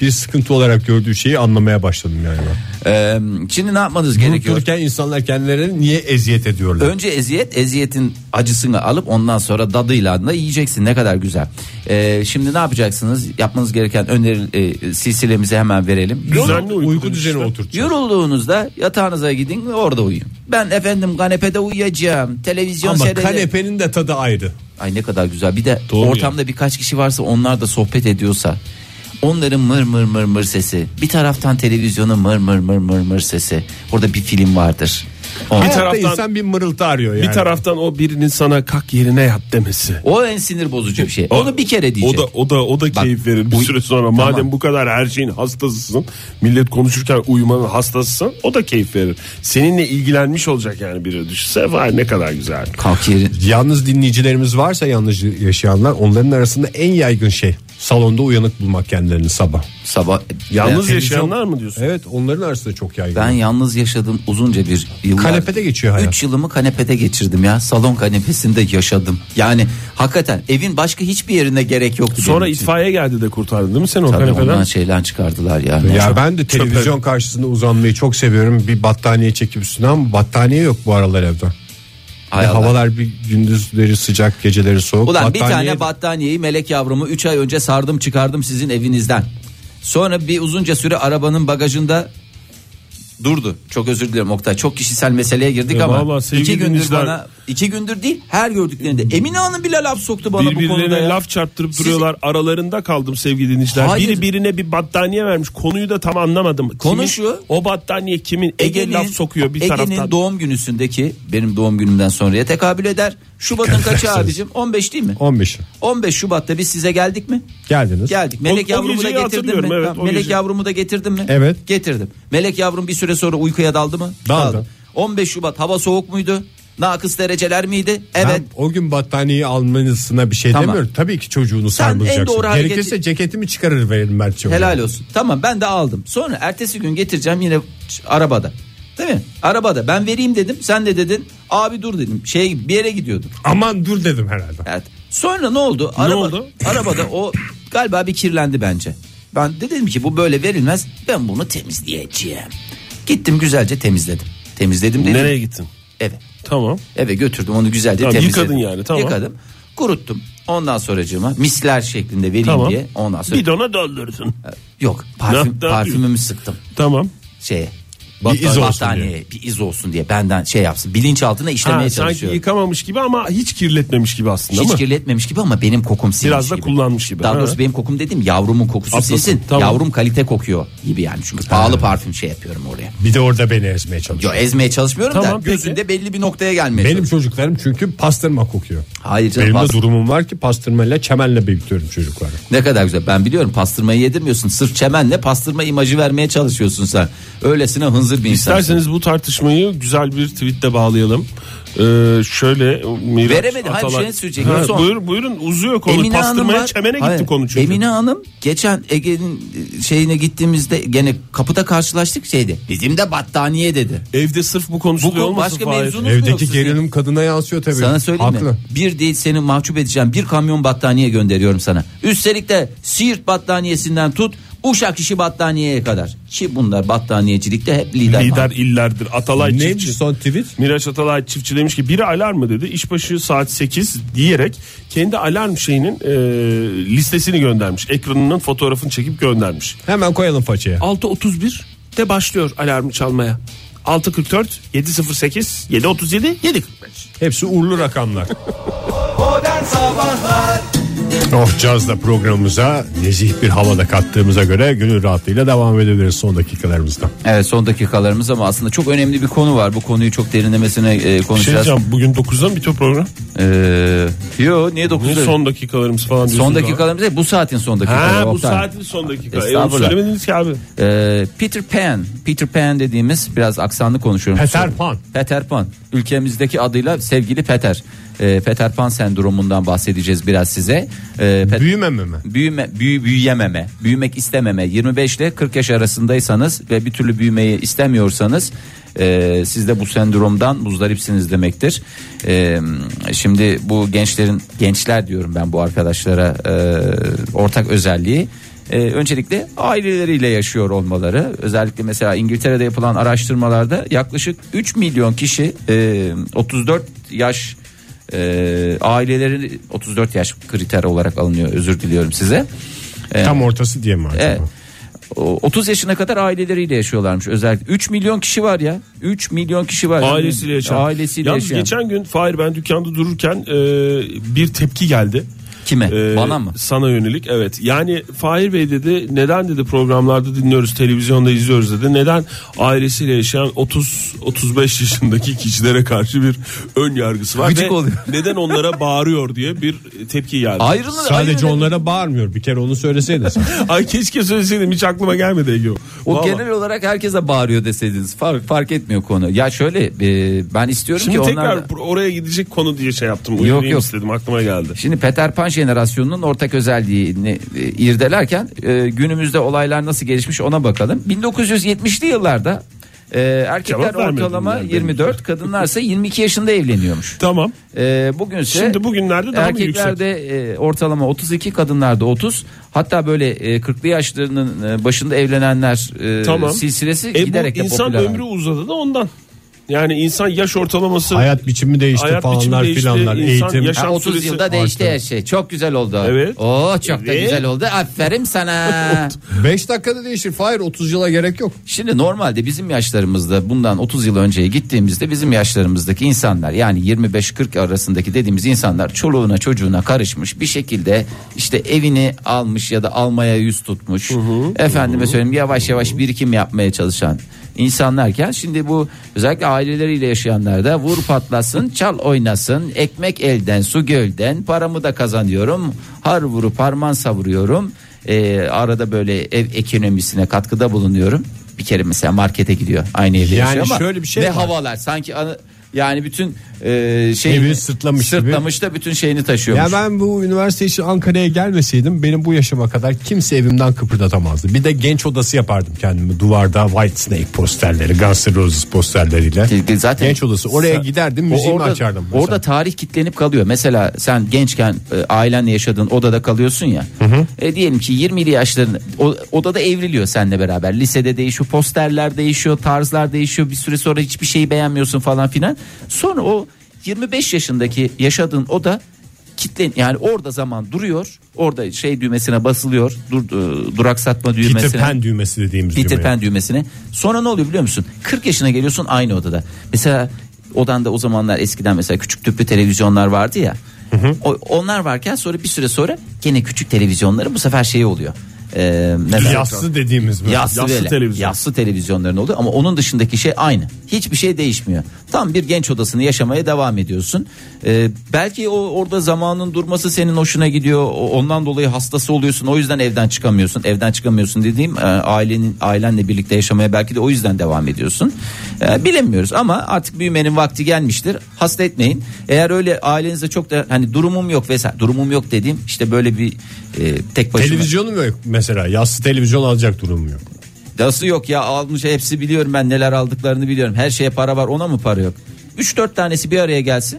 bir sıkıntı olarak gördüğü şeyi anlamaya başladım yani.
Ee, şimdi ne yapmanız
Durup
gerekiyor?
dururken insanlar kendilerini niye eziyet ediyorlar?
Önce eziyet, eziyetin acısını alıp ondan sonra dadıyla da yiyeceksin. Ne kadar güzel. Ee, şimdi ne yapacaksınız? Yapmanız gereken öneri e, silsilemizi hemen verelim.
Düzenli uyku,
uyku düzeni
otur.
oturtacak.
Yorulduğunuzda yatağınıza gidin ve orada uyuyun. Ben efendim kanepede uyuyacağım. Televizyon
Ama
seyrederim.
kanepenin de tadı ayrı.
Ay ne kadar güzel. Bir de
Doğru
ortamda birkaç kişi varsa onlar da sohbet ediyorsa. Onların mır mır mır mır sesi. Bir taraftan televizyonun mır mır mır mır mır sesi. Orada bir film vardır. O,
Bir
Hayatta
taraftan-
insan bir mırıltı arıyor yani.
Bir taraftan o birinin sana kalk yerine yat demesi.
o en sinir bozucu bir şey. Onu bir kere diyecek.
O da o da o da
Bak,
keyif verir bir
uy-
süre sonra. Madem bu kadar her şeyin hastasısın. Millet konuşurken uyumanın hastasısın. O da keyif verir. Seninle ilgilenmiş olacak yani biri düşünse. Vay ne kadar güzel.
Kalk yerin.
Yalnız dinleyicilerimiz varsa yalnız yaşayanlar onların arasında en yaygın şey salonda uyanık bulmak kendilerini sabah.
Sabah
Yalnız
ben,
yaşayanlar mı diyorsun?
Evet onların arasında çok yaygın.
ben yalnız yaşadım uzunca bir yıllar.
Kanepede geçiyor hayat.
3 yılımı kanepede geçirdim ya. Salon kanepesinde yaşadım. Yani hakikaten evin başka hiçbir yerine gerek yoktu.
Sonra
benim için.
itfaiye geldi de kurtardın değil mi sen o
Tabii ondan
kanepeden?
şeyler çıkardılar yani.
Ya ben de televizyon karşısında uzanmayı çok seviyorum. Bir battaniye çekip üstüne ama battaniye yok bu aralar evde.
Hay Allah.
Havalar bir gündüzleri sıcak, geceleri soğuk.
Ulan bir
Battaniye-
tane battaniyeyi melek yavrumu 3 ay önce sardım çıkardım sizin evinizden. Sonra bir uzunca süre arabanın bagajında durdu. Çok özür dilerim Oktay. Çok kişisel meseleye girdik
Ya
ama
E, vallahi sevgili
iki gündür
dinleyiciler- E,
bana iki gündür değil her gördüklerinde Emine Hanım bile laf soktu bana bu konuda.
Birbirlerine
ya.
laf çarptırıp
Siz-
duruyorlar. Aralarında kaldım sevgili dinleyiciler.
Hayır.
Biri birine bir battaniye vermiş. Konuyu da tam anlamadım. Kimin-
Konu şu.
O battaniye kimin? Ege laf sokuyor bir
Ege'nin
taraftan.
doğum günüsündeki benim doğum günümden sonraya tekabül eder. Şubat'ın kaçı abicim? 15 değil mi?
15.
15 Şubat'ta biz size geldik mi?
Geldiniz.
Geldik. Melek
O- o
yavrumu da
geceyi
getirdim mi?
hatırlıyorum, evet,
Tamam,
o
Melek
gece.
yavrumu da getirdim mi?
Evet.
Getirdim. Melek yavrum bir süre sonra uykuya daldı mı?
Daldı.
15 Şubat hava soğuk muydu? Nakıs dereceler miydi?
Ben
Evet.
o gün battaniyeyi almanızına bir şey
Tamam.
demiyorum. Tabii ki çocuğunu
Sen en
sarmayacaksın.
doğru hareketi-
Gerekirse ceketimi çıkarır veririm ben çocuğa.
Helal olsun. Tamam ben de aldım. Sonra ertesi gün getireceğim yine ç- arabada. Değil mi? Arabada ben vereyim dedim. Sen de dedin. Abi dur dedim. Şey bir yere gidiyordum.
Aman dur dedim herhalde.
Evet. Sonra ne oldu? Araba,
oldu?
Arabada o galiba bir kirlendi bence. Ben de dedim ki bu böyle verilmez. Ben bunu temizleyeceğim. Gittim güzelce temizledim. Temizledim dedim.
Nereye gittin?
Eve.
Tamam.
Eve götürdüm onu güzelce
Tamam,
temizledim.
yıkadın yani, tamam.
Yıkadım. Kuruttum. Ondan sonracığıma misler şeklinde vereyim
Tamam.
diye. Ondan sonra Ee,
Bidona doldurursun.
yok parfüm,
Ne- ne
parfümümü sıktım
Tamam.
şeye.
iz olsun
Battaniyeye, bir iz olsun diye benden şey yapsın bilinçaltına işlemeye
Ha, sanki
çalışıyorum.
yıkamamış gibi ama hiç kirletmemiş gibi aslında
Hiç
ama.
kirletmemiş gibi ama benim kokum sinmiş
Biraz da
gibi.
kullanmış gibi.
Daha
Ha.
doğrusu benim kokum dedim yavrumun kokusu
Atlasın,
silsin.
tamam.
Yavrum kalite kokuyor gibi yani. Çünkü pahalı parfüm şey yapıyorum oraya.
Bir de orada beni ezmeye çalışıyor.
Yo ezmeye çalışmıyorum da
Tamam, peki.
gözünde belli bir noktaya gelmeye
Benim
çalış-
çocuklarım çünkü pastırma kokuyor.
Hayır canım,
Benim
past-
de durumum var ki pastırmayla çemenle büyütüyorum çocukları.
Ne kadar güzel. Ben biliyorum pastırmayı yedirmiyorsun. Sırf çemenle pastırma imajı vermeye çalışıyorsun sen. Öylesine hınzır bir insansın.
İsterseniz bu tartışmayı güzel bir tweetle bağlayalım. Ee, şöyle Miraç
Veremedi, hayır, bir şey söyleyecek.
Ha,
Son.
buyur, buyurun uzuyor konu. Pastırmaya çemene
Hayır,
gitti konu çünkü.
Emine Hanım geçen Ege'nin e, şeyine gittiğimizde gene kapıda karşılaştık şeydi. Bizim de battaniye dedi.
Evde sırf bu konuşuluyor
Bu konu
olmasın
başka
Fahir.
mevzunuz mu yok
Evdeki
sizin?
gerilim kadına yansıyor tabii.
Sana söyleyeyim
Haklı.
mi? Bir değil seni mahcup edeceğim. Bir kamyon battaniye gönderiyorum sana. Üstelik de Siirt battaniyesinden tut Uşak işi battaniyeye kadar. Ki bunlar battaniyecilikte hep lider.
Lider illerdir. Atalay
Neymiş
çiftçi.
son tweet?
Miraç Atalay çiftçi demiş ki biri alarm mı dedi. İşbaşı saat 8 diyerek kendi alarm şeyinin e, listesini göndermiş. Ekranının fotoğrafını çekip göndermiş.
Hemen koyalım façaya.
6.31 de başlıyor alarmı çalmaya. 6.44, 7.08, 7.37, 7.45.
Hepsi uğurlu rakamlar. Oh cazla programımıza nezih bir havada kattığımıza göre gönül rahatlığıyla devam edebiliriz son dakikalarımızda.
Evet son dakikalarımız ama aslında çok önemli bir konu var. Bu konuyu çok derinlemesine e,
Bir şey
konuşacağız.
diyeceğim bugün 9'da mı bitiyor program?
Ee, yo niye
Bugün
9'da? Son,
son dakikalarımız falan diyorsunuz. ama.
dakikalarımız değil, bu saatin son dakikaları.
Ha bu
Oktay.
saatin son dakika. E, onu
Estağfurullah.
söylemediniz ki abi.
Ee, Peter Pan. Peter Pan dediğimiz biraz aksanlı konuşuyorum.
Peter Pan.
Peter Pan. Ülkemizdeki adıyla sevgili Peter. Ee, Peter Pan sendromundan bahsedeceğiz biraz size. Ee, Pet-
Büyümeme mi?
büyüme, büyü, büyüyememe, büyümek istememe 25 ile 40 yaş arasındaysanız ve bir türlü büyümeyi istemiyorsanız e, siz de bu sendromdan muzdaripsiniz demektir. E, şimdi bu gençlerin gençler diyorum ben bu arkadaşlara e, ortak özelliği e, öncelikle aileleriyle yaşıyor olmaları. Özellikle mesela İngiltere'de yapılan araştırmalarda yaklaşık 3 milyon kişi e, 34 yaş e, aileleri 34 yaş kriter olarak alınıyor özür diliyorum size. E,
Tam ortası diye mi acaba?
Evet. O- 30 yaşına kadar aileleriyle yaşıyorlarmış özellikle. 3 milyon kişi var ya. 3 milyon kişi var.
Ailesiyle yaşayan.
Ailesiyle
Yalnız
yaşayan.
geçen gün Fahir ben dükkanda dururken e, bir tepki geldi.
Kime?
E,
Bana mı?
Sana yönelik evet. Yani Fahir Bey dedi neden dedi programlarda dinliyoruz televizyonda izliyoruz dedi. Neden ailesiyle yaşayan 30-35 yaşındaki kişilere karşı bir ön yargısı var.
Gıcık
ve
oluyor.
Neden onlara bağırıyor diye bir tepki geldi. Ay,
Ayrılın.
Sadece
ayrılın.
onlara bağırmıyor. Bir kere onu söyleseydi sen.
keşke söyleseydim hiç aklıma gelmedi Ege.
O
Vallahi.
genel olarak herkese bağırıyor deseydiniz fark fark etmiyor konu. Ya şöyle e, ben istiyorum
Şimdi
ki
tekrar
onlar da-
bur- oraya gidecek konu diye şey yaptım.
Yok,
Uyarayım
yok.
istedim aklıma geldi.
Şimdi Peter Pan jenerasyonunun ortak özelliğini e, irdelerken e, günümüzde olaylar nasıl gelişmiş ona bakalım. 1970'li yıllarda e, erkekler
Cevap vermedim
ortalama
yani benim.
24, kadınlarsa 22 yaşında evleniyormuş.
Tamam.
E, bugünse
Şimdi bugünlerde daha mı
erkeklerde e, ortalama 32 kadınlarda 30 hatta böyle e, 40'lı yaşlarının e, başında evlenenler e,
Tamam.
silsilesi
E
giderek
bu
de
insan
popüler.
ömrü uzadı da ondan. Yani insan yaş ortalaması
Hayat biçimi değişti
Hayat biçimi
falanlar
değişti,
filanlar.
insan
Eğitim.
yaşa-
Ha,
Yaşam
30
süresi
yılda değişti her şey. Çok güzel oldu.
Evet.
Oo çok da
Evet.
güzel oldu. Aferin sana.
5 dakikada değişir. Hayır 30 yıla gerek yok.
Şimdi normalde bizim yaşlarımızda bundan 30 yıl önceye gittiğimizde bizim yaşlarımızdaki insanlar yani 25-40 arasındaki dediğimiz insanlar çoluğuna çocuğuna karışmış bir şekilde işte evini almış ya da almaya yüz tutmuş. Efendime söyleyeyim yavaş yavaş birikim yapmaya çalışan insanlarken şimdi bu özellikle aileleriyle yaşayanlarda vur patlasın çal oynasın ekmek elden su gölden paramı da kazanıyorum har vurup harman savuruyorum. Ee, arada böyle ev ekonomisine katkıda bulunuyorum. Bir kere mesela markete gidiyor aynı evde
Yani
yaşıyor ama
şöyle bir şey
ne
var.
havalar sanki anı- yani bütün e, şeyi
Evi sırtlamış gibi.
sırtlamış da bütün şeyini taşıyormuş.
Ya ben bu üniversite için Ankara'ya gelmeseydim benim bu yaşıma kadar kimse evimden kıpırdatamazdı. Bir de genç odası yapardım kendimi duvarda White Snake posterleri, Guns N' Roses posterleriyle.
E, zaten
genç odası oraya
Sa-
giderdim
O
müziğimi
orada,
açardım. mesela.
Orada tarih kitlenip kalıyor. Mesela sen gençken e, ailenle yaşadığın odada kalıyorsun ya. E, diyelim ki 20'li yaşların o, odada evriliyor seninle beraber. Lisede değişiyor, posterler değişiyor, tarzlar değişiyor. Bir süre sonra hiçbir şeyi beğenmiyorsun falan filan. Sonra o 25 yaşındaki yaşadığın oda kitlen yani orada zaman duruyor. Orada şey düğmesine basılıyor. Dur, e, duraksatma düğmesine.
Peter Pan düğmesi dediğimiz
Peter
düğme.
Pan düğmesine. Sonra ne oluyor biliyor musun? 40 yaşına geliyorsun aynı odada. Mesela odanda o zamanlar eskiden mesela küçük tüplü televizyonlar vardı ya. O- onlar varken sonra bir süre sonra gene küçük televizyonları bu sefer şey oluyor. Ee, ne derler?
Yassı dediğimiz böyle.
Yassı,
Yassı
böyle.
televizyon.
Yassı televizyonların oluyor ama onun dışındaki şey aynı. Hiçbir şey değişmiyor. Tam bir genç odasını yaşamaya devam ediyorsun. Ee, belki o orada zamanın durması senin hoşuna gidiyor. O- Ondan dolayı hastası oluyorsun. O yüzden evden çıkamıyorsun. Evden çıkamıyorsun dediğim e, ailenin ailenle birlikte yaşamaya belki de o yüzden devam ediyorsun. Ee, bilemiyoruz ama artık büyümenin vakti gelmiştir. Hasta etmeyin. Eğer öyle ailenizde çok da hani durumum yok vesaire durumum yok dediğim işte böyle bir e, tek başına.
Televizyonu mu yok mesela? Yassı televizyon alacak durum yok.
Nasıl yok ya almış hepsi biliyorum ben neler aldıklarını biliyorum. Her şeye para var ona mı para yok? 3-4 tanesi bir araya gelsin.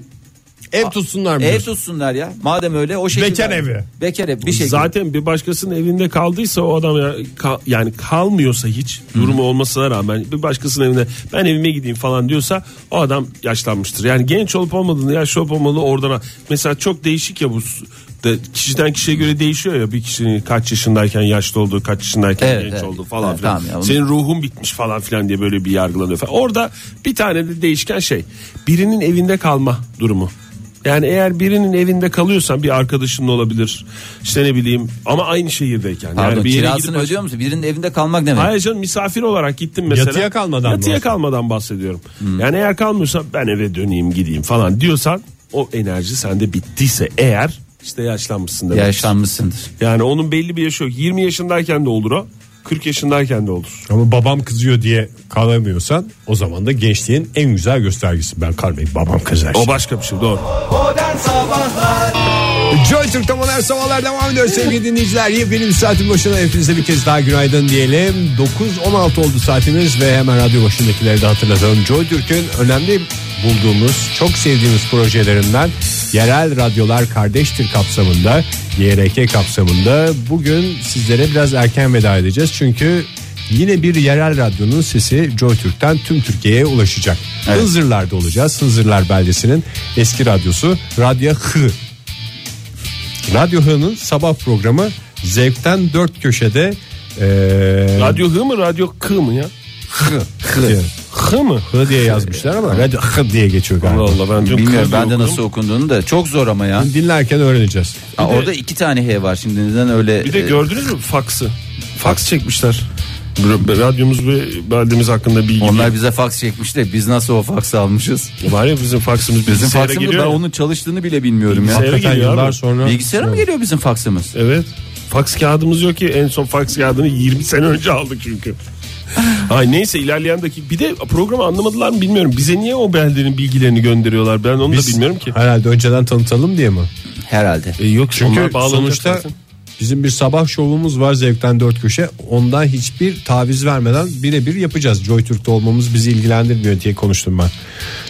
Ev tutsunlar mı?
Ev
diyorsun?
tutsunlar ya. Madem öyle o şekilde.
Bekar evi.
Bekar evi bir şekilde.
Zaten bir başkasının evinde kaldıysa o adam ya, ka- yani kalmıyorsa hiç durumu olmasına rağmen bir başkasının evinde ben evime gideyim falan diyorsa o adam yaşlanmıştır. Yani genç olup olmadığını yaşlı olup olmadığını oradan mesela çok değişik ya bu s- de- kişiden kişiye göre değişiyor ya bir kişinin kaç yaşındayken yaşlı olduğu kaç yaşındayken
Evet,
genç
evet.
olduğu falan
Evet,
filan.
tamam ya, onu-
Senin ruhun E, bitmiş falan filan diye böyle bir yargılanıyor falan. Orada bir tane de değişken şey birinin evinde kalma durumu. Yani eğer birinin evinde kalıyorsan bir arkadaşın olabilir. İşte ne bileyim ama aynı şehirdeyken.
Pardon
yani bir yere
kirasını
gidip-
ödüyor musun? Birinin evinde kalmak demek.
Hayır canım misafir olarak gittim mesela.
Yatıya kalmadan mı
Yatıya
olsun?
kalmadan bahsediyorum.
Hmm.
Yani eğer kalmıyorsan ben eve döneyim gideyim falan diyorsan o enerji sende bittiyse eğer işte yaşlanmışsın demek.
Yaşlanmışsındır.
Yani onun belli bir yaşı yok. 20 yaşındayken de olur o. 40 yaşındayken de olur.
Ama babam kızıyor diye kalamıyorsan o zaman da gençliğin en güzel göstergesi. Ben kalmayayım babam kızar.
O başka bir şey doğru.
Joy Türk'te modern sabahlar devam ediyor sevgili dinleyiciler. Yepyeni bir saatin başına hepinize bir kez daha günaydın diyelim. 9.16 oldu saatimiz ve hemen radyo başındakileri de hatırlatalım. Joy Türk'ün önemli bulduğumuz çok sevdiğimiz projelerinden yerel radyolar kardeştir kapsamında YRK kapsamında bugün sizlere biraz erken veda edeceğiz. Çünkü yine bir yerel radyonun sesi JoyTürk'ten tüm Türkiye'ye ulaşacak. Hınzırlar'da olacağız. Hınzırlar beldesinin eski radyosu Radyo Hı Radyo Hı'nın sabah programı zevkten dört köşede eee,
Radyo Hı mı radyo K mı ya?
diye,
Hı mı?
Hı diye yazmışlar ama Radyo Hı diye geçiyor
Allah
galiba.
Allah ben dün
Bilmiyorum
K'yı
ben de
okudum.
nasıl okunduğunu da çok zor ama ya.
Dinlerken öğreneceğiz.
Aa, orada iki tane H var şimdi neden öyle
Bir de
e,
gördünüz mü faksı? Faks çekmişler. Radyomuz ve beldemiz hakkında bilgi.
onlar bize faks çekmiş de biz nasıl o faksı almışız?
var ya bizim faksımız
Bizim
bilgisayara
faksımız ben
geliyor. ya.
onun çalıştığını bile bilmiyorum ya.
Bilgisayara
Hakikaten
geliyor
yıllar
abi.
sonra
Bilgisayara mı geliyor bizim faksımız?
Evet. Faks kağıdımız yok ki en son faks kağıdını 20 sene önce aldık çünkü. Ay neyse ilerleyen dakika bir de programı anlamadılar mı bilmiyorum. Bize niye o beldenin bilgilerini gönderiyorlar? Ben onu da bilmiyorum ki.
herhalde önceden tanıtalım diye mi?
Herhalde.
E, yok
Çünkü
onlar bağlanacak
sonuçta
zaten.
bizim bir sabah şovumuz var zevkten dört köşe. Ondan hiçbir taviz vermeden birebir yapacağız. JoyTürk'te olmamız bizi ilgilendirmiyor diye konuştum ben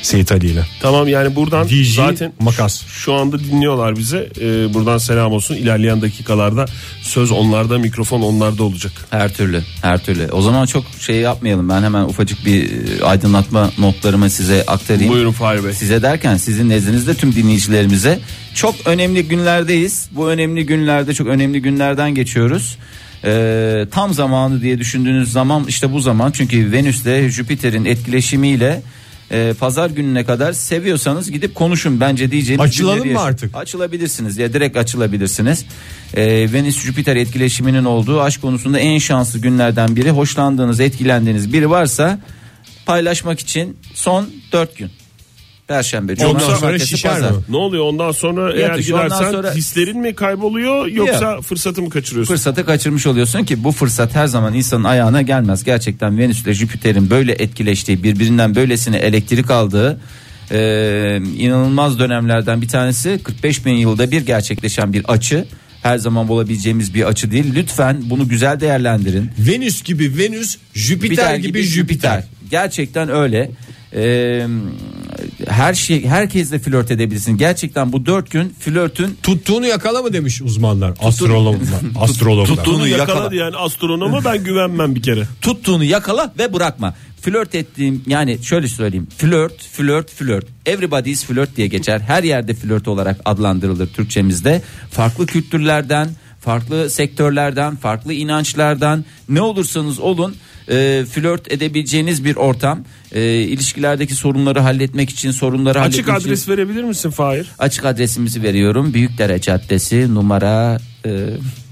Seyit Ali ile.
Tamam yani buradan
DJ
zaten
makas.
şu anda dinliyorlar bize. E, buradan selam olsun. İlerleyen dakikalarda söz onlarda mikrofon onlarda olacak.
Her türlü, her türlü. O zaman çok şey yapmayalım. Ben hemen ufacık bir e, aydınlatma notlarımı size aktarayım.
Buyurun Fahir Bey.
Size derken sizin nezdinizde tüm dinleyicilerimize çok önemli günlerdeyiz. Bu önemli günlerde çok önemli günlerden geçiyoruz. Ee, tam zamanı diye düşündüğünüz zaman işte bu zaman çünkü Venüs'te Jüpiter'in etkileşimiyle e, pazar gününe kadar seviyorsanız gidip konuşun bence diyeceğiniz
Açılalım
günleri
mı
yaşa-
artık?
Açılabilirsiniz ya direkt açılabilirsiniz. Ee, Venüs Jüpiter etkileşiminin olduğu aşk konusunda en şanslı günlerden biri. Hoşlandığınız, etkilendiğiniz biri varsa paylaşmak için son 4 gün. Perşembe, cuma,
sonra
pazartesi,
şişer
pazar.
mi?
Ne oluyor ondan sonra eğer
Yatış, ondan
girersen
sonra-
hislerin mi kayboluyor yoksa fırsatı mı kaçırıyorsun?
Fırsatı kaçırmış oluyorsun ki bu fırsat her zaman insanın ayağına gelmez. Gerçekten Venüs ile Jüpiter'in böyle etkileştiği, birbirinden böylesine elektrik aldığı e, inanılmaz dönemlerden bir tanesi 45 bin yılda bir gerçekleşen bir açı. Her zaman bulabileceğimiz bir açı değil. Lütfen bunu güzel değerlendirin.
Venüs gibi Venüs, Jüpiter gibi Jüpiter.
Gerçekten öyle. Ee, her şey herkesle flört edebilirsin. Gerçekten bu dört gün flörtün
Tuttuğunu yakala mı demiş uzmanlar, astrologlar, astrologlar.
Tuttuğunu yakala,
yakala.
diyen astronoma ben güvenmem bir kere.
tuttuğunu yakala ve bırakma. Flört ettiğim yani şöyle söyleyeyim. Flört, flört, flört. Everybody's flört diye geçer. Her yerde flört olarak adlandırılır Türkçemizde. Farklı kültürlerden, farklı sektörlerden, farklı inançlardan ne olursanız olun e, flört edebileceğiniz bir ortam. E, ilişkilerdeki sorunları halletmek için, sorunları
Açık
halletmek için
adres
şey-
verebilir misin Fahir?
açık adresimizi veriyorum. Büyükdere Caddesi numara e,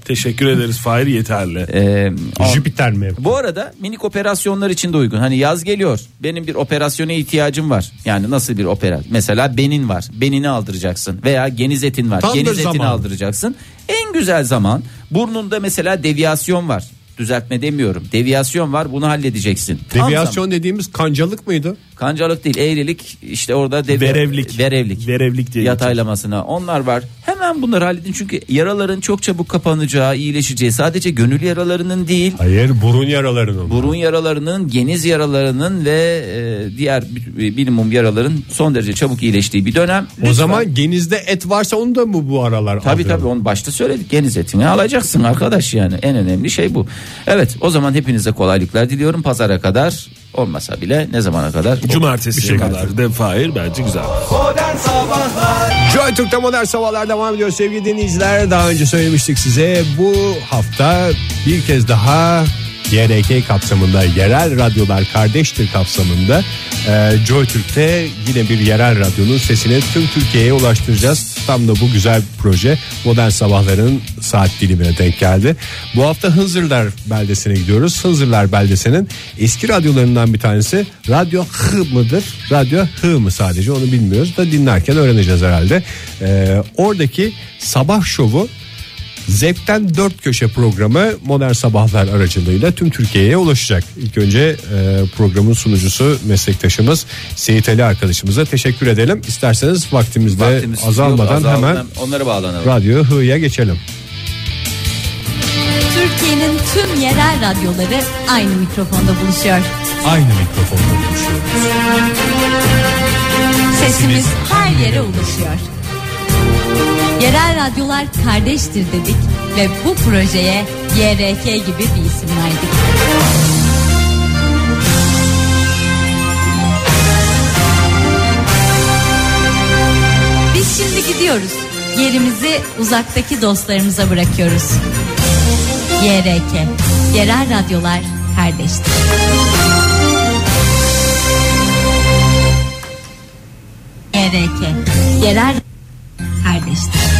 Teşekkür ederiz Fahir yeterli.
e, on-
Jüpiter mi?
bu arada minik operasyonlar için de uygun. Hani yaz geliyor. Benim bir operasyona ihtiyacım var. Yani nasıl bir operasyon? Mesela benin var. Benini aldıracaksın veya geniz etin var.
Tam da
geniz etini
zamanı.
aldıracaksın. En güzel zaman burnunda mesela deviyasyon var. Düzeltme demiyorum. Deviyasyon var. Bunu halledeceksin. Tam zaman.
Deviyasyon dediğimiz kancalık mıydı?
Kancalık değil, eğrilik işte orada devi-
Verevlik.
Verevlik.
Verevlik diye
Yataylamasına. Onlar var. Hemen bunları halledin çünkü yaraların çok çabuk kapanacağı, iyileşeceği. Sadece gönül yaralarının değil,
Hayır, burun yaralarının.
burun yaralarının, geniz yaralarının ve e, diğer bi- bilimum yaraların son derece çabuk iyileştiği bir dönem.
O
Lütfen-
zaman genizde et varsa onu da mı bu aralar
Tabii
aldıralım?
tabii onu başta söyledik. Geniz etini alacaksın arkadaş yani. En önemli şey bu. Evet o zaman hepinize kolaylıklar diliyorum. Pazara kadar olmasa bile ne zamana kadar?
Cumartesiye kadar de Fahir bence güzel.
Joy Türk'te modern sabahlar devam ediyor sevgili dinleyiciler. Daha önce söylemiştik size bu hafta bir kez daha YRK kapsamında yerel radyolar kardeştir kapsamında e, Joy Türk'te yine bir yerel radyonun sesini tüm Türkiye'ye ulaştıracağız. Tam da bu güzel bir proje modern sabahların saat dilimine denk geldi. Bu hafta Hınzırlar beldesine gidiyoruz. Hınzırlar beldesinin eski radyolarından bir tanesi Radyo Hı mıdır? Radyo Hı mı sadece onu bilmiyoruz da dinlerken öğreneceğiz herhalde. Ee, oradaki sabah şovu Zevkten Dört Köşe programı Modern Sabahlar aracılığıyla tüm Türkiye'ye ulaşacak. İlk önce e, programın sunucusu meslektaşımız Seyit Ali arkadaşımıza teşekkür edelim. İsterseniz vaktimiz de
Vaktimiz
azalmadan
yok, azalmadan
hemen
onlara bağlanalım.
Radyo Hı'ya geçelim.
Türkiye'nin tüm yerel radyoları aynı mikrofonda buluşuyor.
aynı mikrofonla konuşuyoruz.
Sesimiz her yere ulaşıyor. Yerel radyolar kardeştir dedik ve bu projeye YRK gibi bir isim verdik. Biz şimdi gidiyoruz. Yerimizi uzaktaki dostlarımıza bırakıyoruz. YRK, yerel radyolar kardeştir. YRK, yerel kardeştir.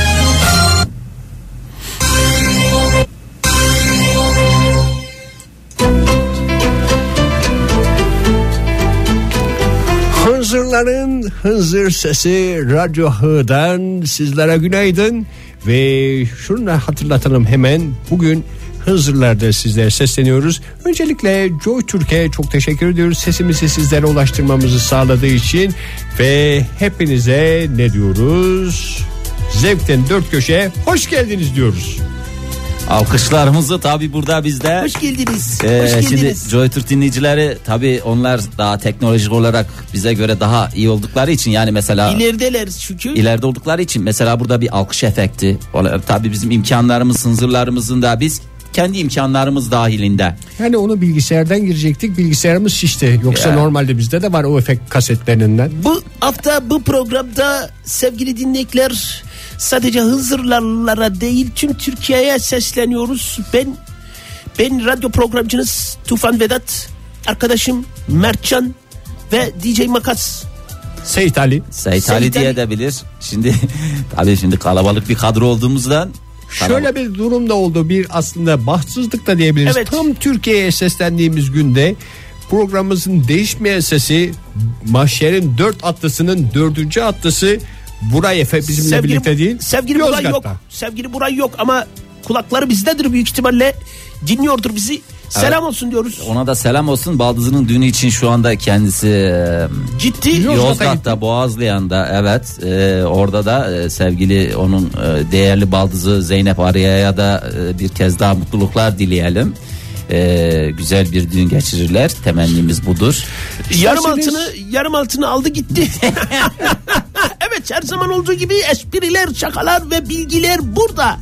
Hınzırların hınzır sesi Radyo Hı'dan sizlere günaydın. Ve şunu da hatırlatalım hemen bugün Hınzırlarda sizlere sesleniyoruz. Öncelikle Joy Türkiye çok teşekkür ediyoruz. Sesimizi sizlere ulaştırmamızı sağladığı için ve hepinize ne diyoruz? Zevkten dört köşeye hoş geldiniz diyoruz.
Alkışlarımızı tabi burada bizde. Hoş geldiniz. şimdi Joy Türk dinleyicileri tabi onlar daha teknolojik olarak bize göre daha iyi oldukları için yani mesela
İlerideler çünkü. E,
ileride oldukları için mesela burada bir alkış efekti. Tabi bizim imkanlarımız sınırlarımızın da biz kendi imkanlarımız dahilinde.
Yani onu bilgisayardan girecektik. Bilgisayarımız şişti. Yoksa
Ya.
normalde bizde de var o efekt kasetlerinden.
Bu hafta bu programda sevgili dinleyiciler sadece Hızırlara değil tüm Türkiye'ye sesleniyoruz. Ben ben radyo programcınız Tufan Vedat, arkadaşım Mertcan ve DJ Makas.
Seyit Ali.
Seyit Ali
Seyit
diye
Ali.
de bilir. Şimdi tabii şimdi kalabalık bir kadro olduğumuzdan
Şöyle bir durum da oldu. Bir aslında bahtsızlık da diyebiliriz.
Evet.
Tam Türkiye'ye seslendiğimiz günde programımızın değişmeyen sesi mahşerin dört atlısının dördüncü atlısı Buray Efe bizimle birlikte değil.
Sevgili Buray yok.
Yozgat'ta.
Sevgili Buray yok ama kulakları bizdedir büyük ihtimalle. Dinliyordur bizi. Selam olsun diyoruz.
ona da selam olsun. Baldızının düğünü için şu anda kendisi e,
Gitti.
Yozgat'a
Yozgat'ta Boğazlayan'da evet e, orada da e, sevgili onun e, değerli baldızı Zeynep Arya'ya da e, bir kez daha mutluluklar dileyelim. E, güzel bir düğün geçirirler temennimiz budur.
Yarım
İsterseniz-
altını yarım altını aldı gitti. evet her zaman olduğu gibi espriler, şakalar ve bilgiler burada.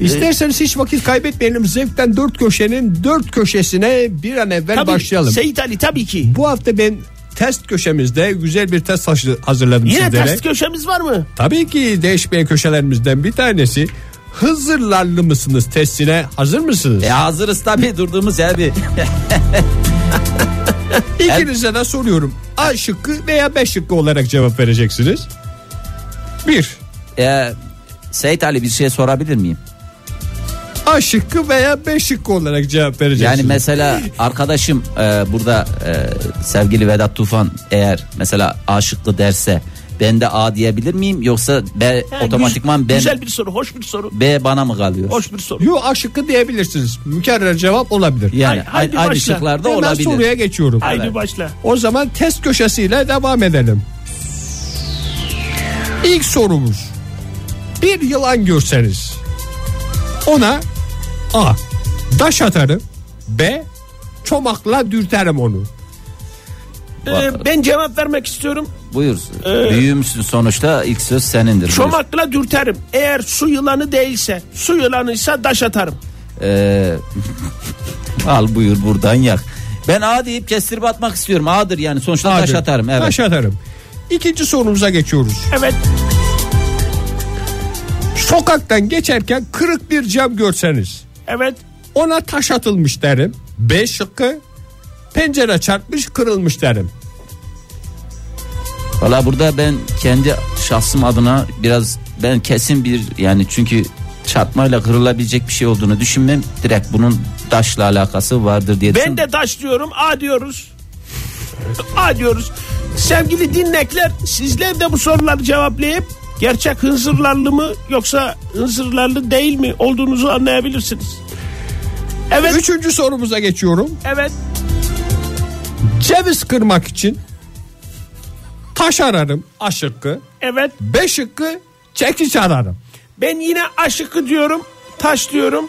Ee,
İsterseniz hiç vakit kaybetmeyelim. Zevkten dört köşenin dört köşesine bir an evvel
Tabii, Şey-
başlayalım.
Seyit Ali tabii ki.
Bu hafta ben test köşemizde güzel bir test haş- hazırladım
Yine
sizlere.
ters köşemiz var mı?
Tabii ki değişmeyen köşelerimizden bir tanesi Hızırlarlı mısınız testine hazır mısınız?
E, hazırız tabii durduğumuz yer bir.
İkinize de soruyorum. A şıkkı veya B şıkkı olarak cevap vereceksiniz. Bir.
E, Seyit Ali bir şey sorabilir miyim?
A şıkkı veya B şıkkı olarak cevap vereceksiniz.
Yani mesela arkadaşım e, burada e, sevgili Vedat Tufan eğer mesela aşıklı derse ben de A diyebilir miyim yoksa B
Ha,
otomatikman
güz-
ben
Güzel bir soru, hoş bir soru.
B bana mı kalıyor?
Hoş bir soru.
Yo A şıkkı diyebilirsiniz. Mükerrer cevap olabilir.
Yani
Hay- haydi
aynı, aynı
başla.
şıklarda
Hemen
olabilir.
soruya geçiyorum.
Haydi başla.
O zaman test köşesiyle devam edelim. İlk sorumuz. Bir yılan görseniz ona A. Daş atarım. B. Çomakla dürterim onu.
Ee, ben cevap vermek istiyorum.
Buyur.
e,
Büyüğümsün sonuçta ilk söz senindir. Buyur.
Çomakla dürterim. Eğer su yılanı değilse, su yılanıysa daş atarım.
Ee, al buyur buradan yak. Ben A deyip kestirip atmak istiyorum. A'dır yani sonuçta taş
A'dır.
atarım. Evet.
Taş atarım. İkinci sorumuza geçiyoruz.
Evet.
Sokaktan geçerken kırık bir cam görseniz
Evet.
ona taş atılmış derim. B şıkkı pencere çarpmış kırılmış derim.
Valla burada ben kendi şahsım adına biraz ben kesin bir yani çünkü çarpmayla kırılabilecek bir şey olduğunu düşünmem. Direkt bunun taşla alakası vardır diye
Ben
düşündüm.
de taş diyorum A diyoruz. A diyoruz. Sevgili dinlekler sizler de bu soruları cevaplayıp gerçek hınzırlarlı mı yoksa hınzırlarlı değil mi olduğunuzu anlayabilirsiniz. Evet,
Üçüncü sorumuza geçiyorum.
evet.
Ceviz kırmak için taş ararım A şıkkı.
Evet.
B şıkkı çekiç ararım.
Ben yine A şıkkı diyorum, taş diyorum,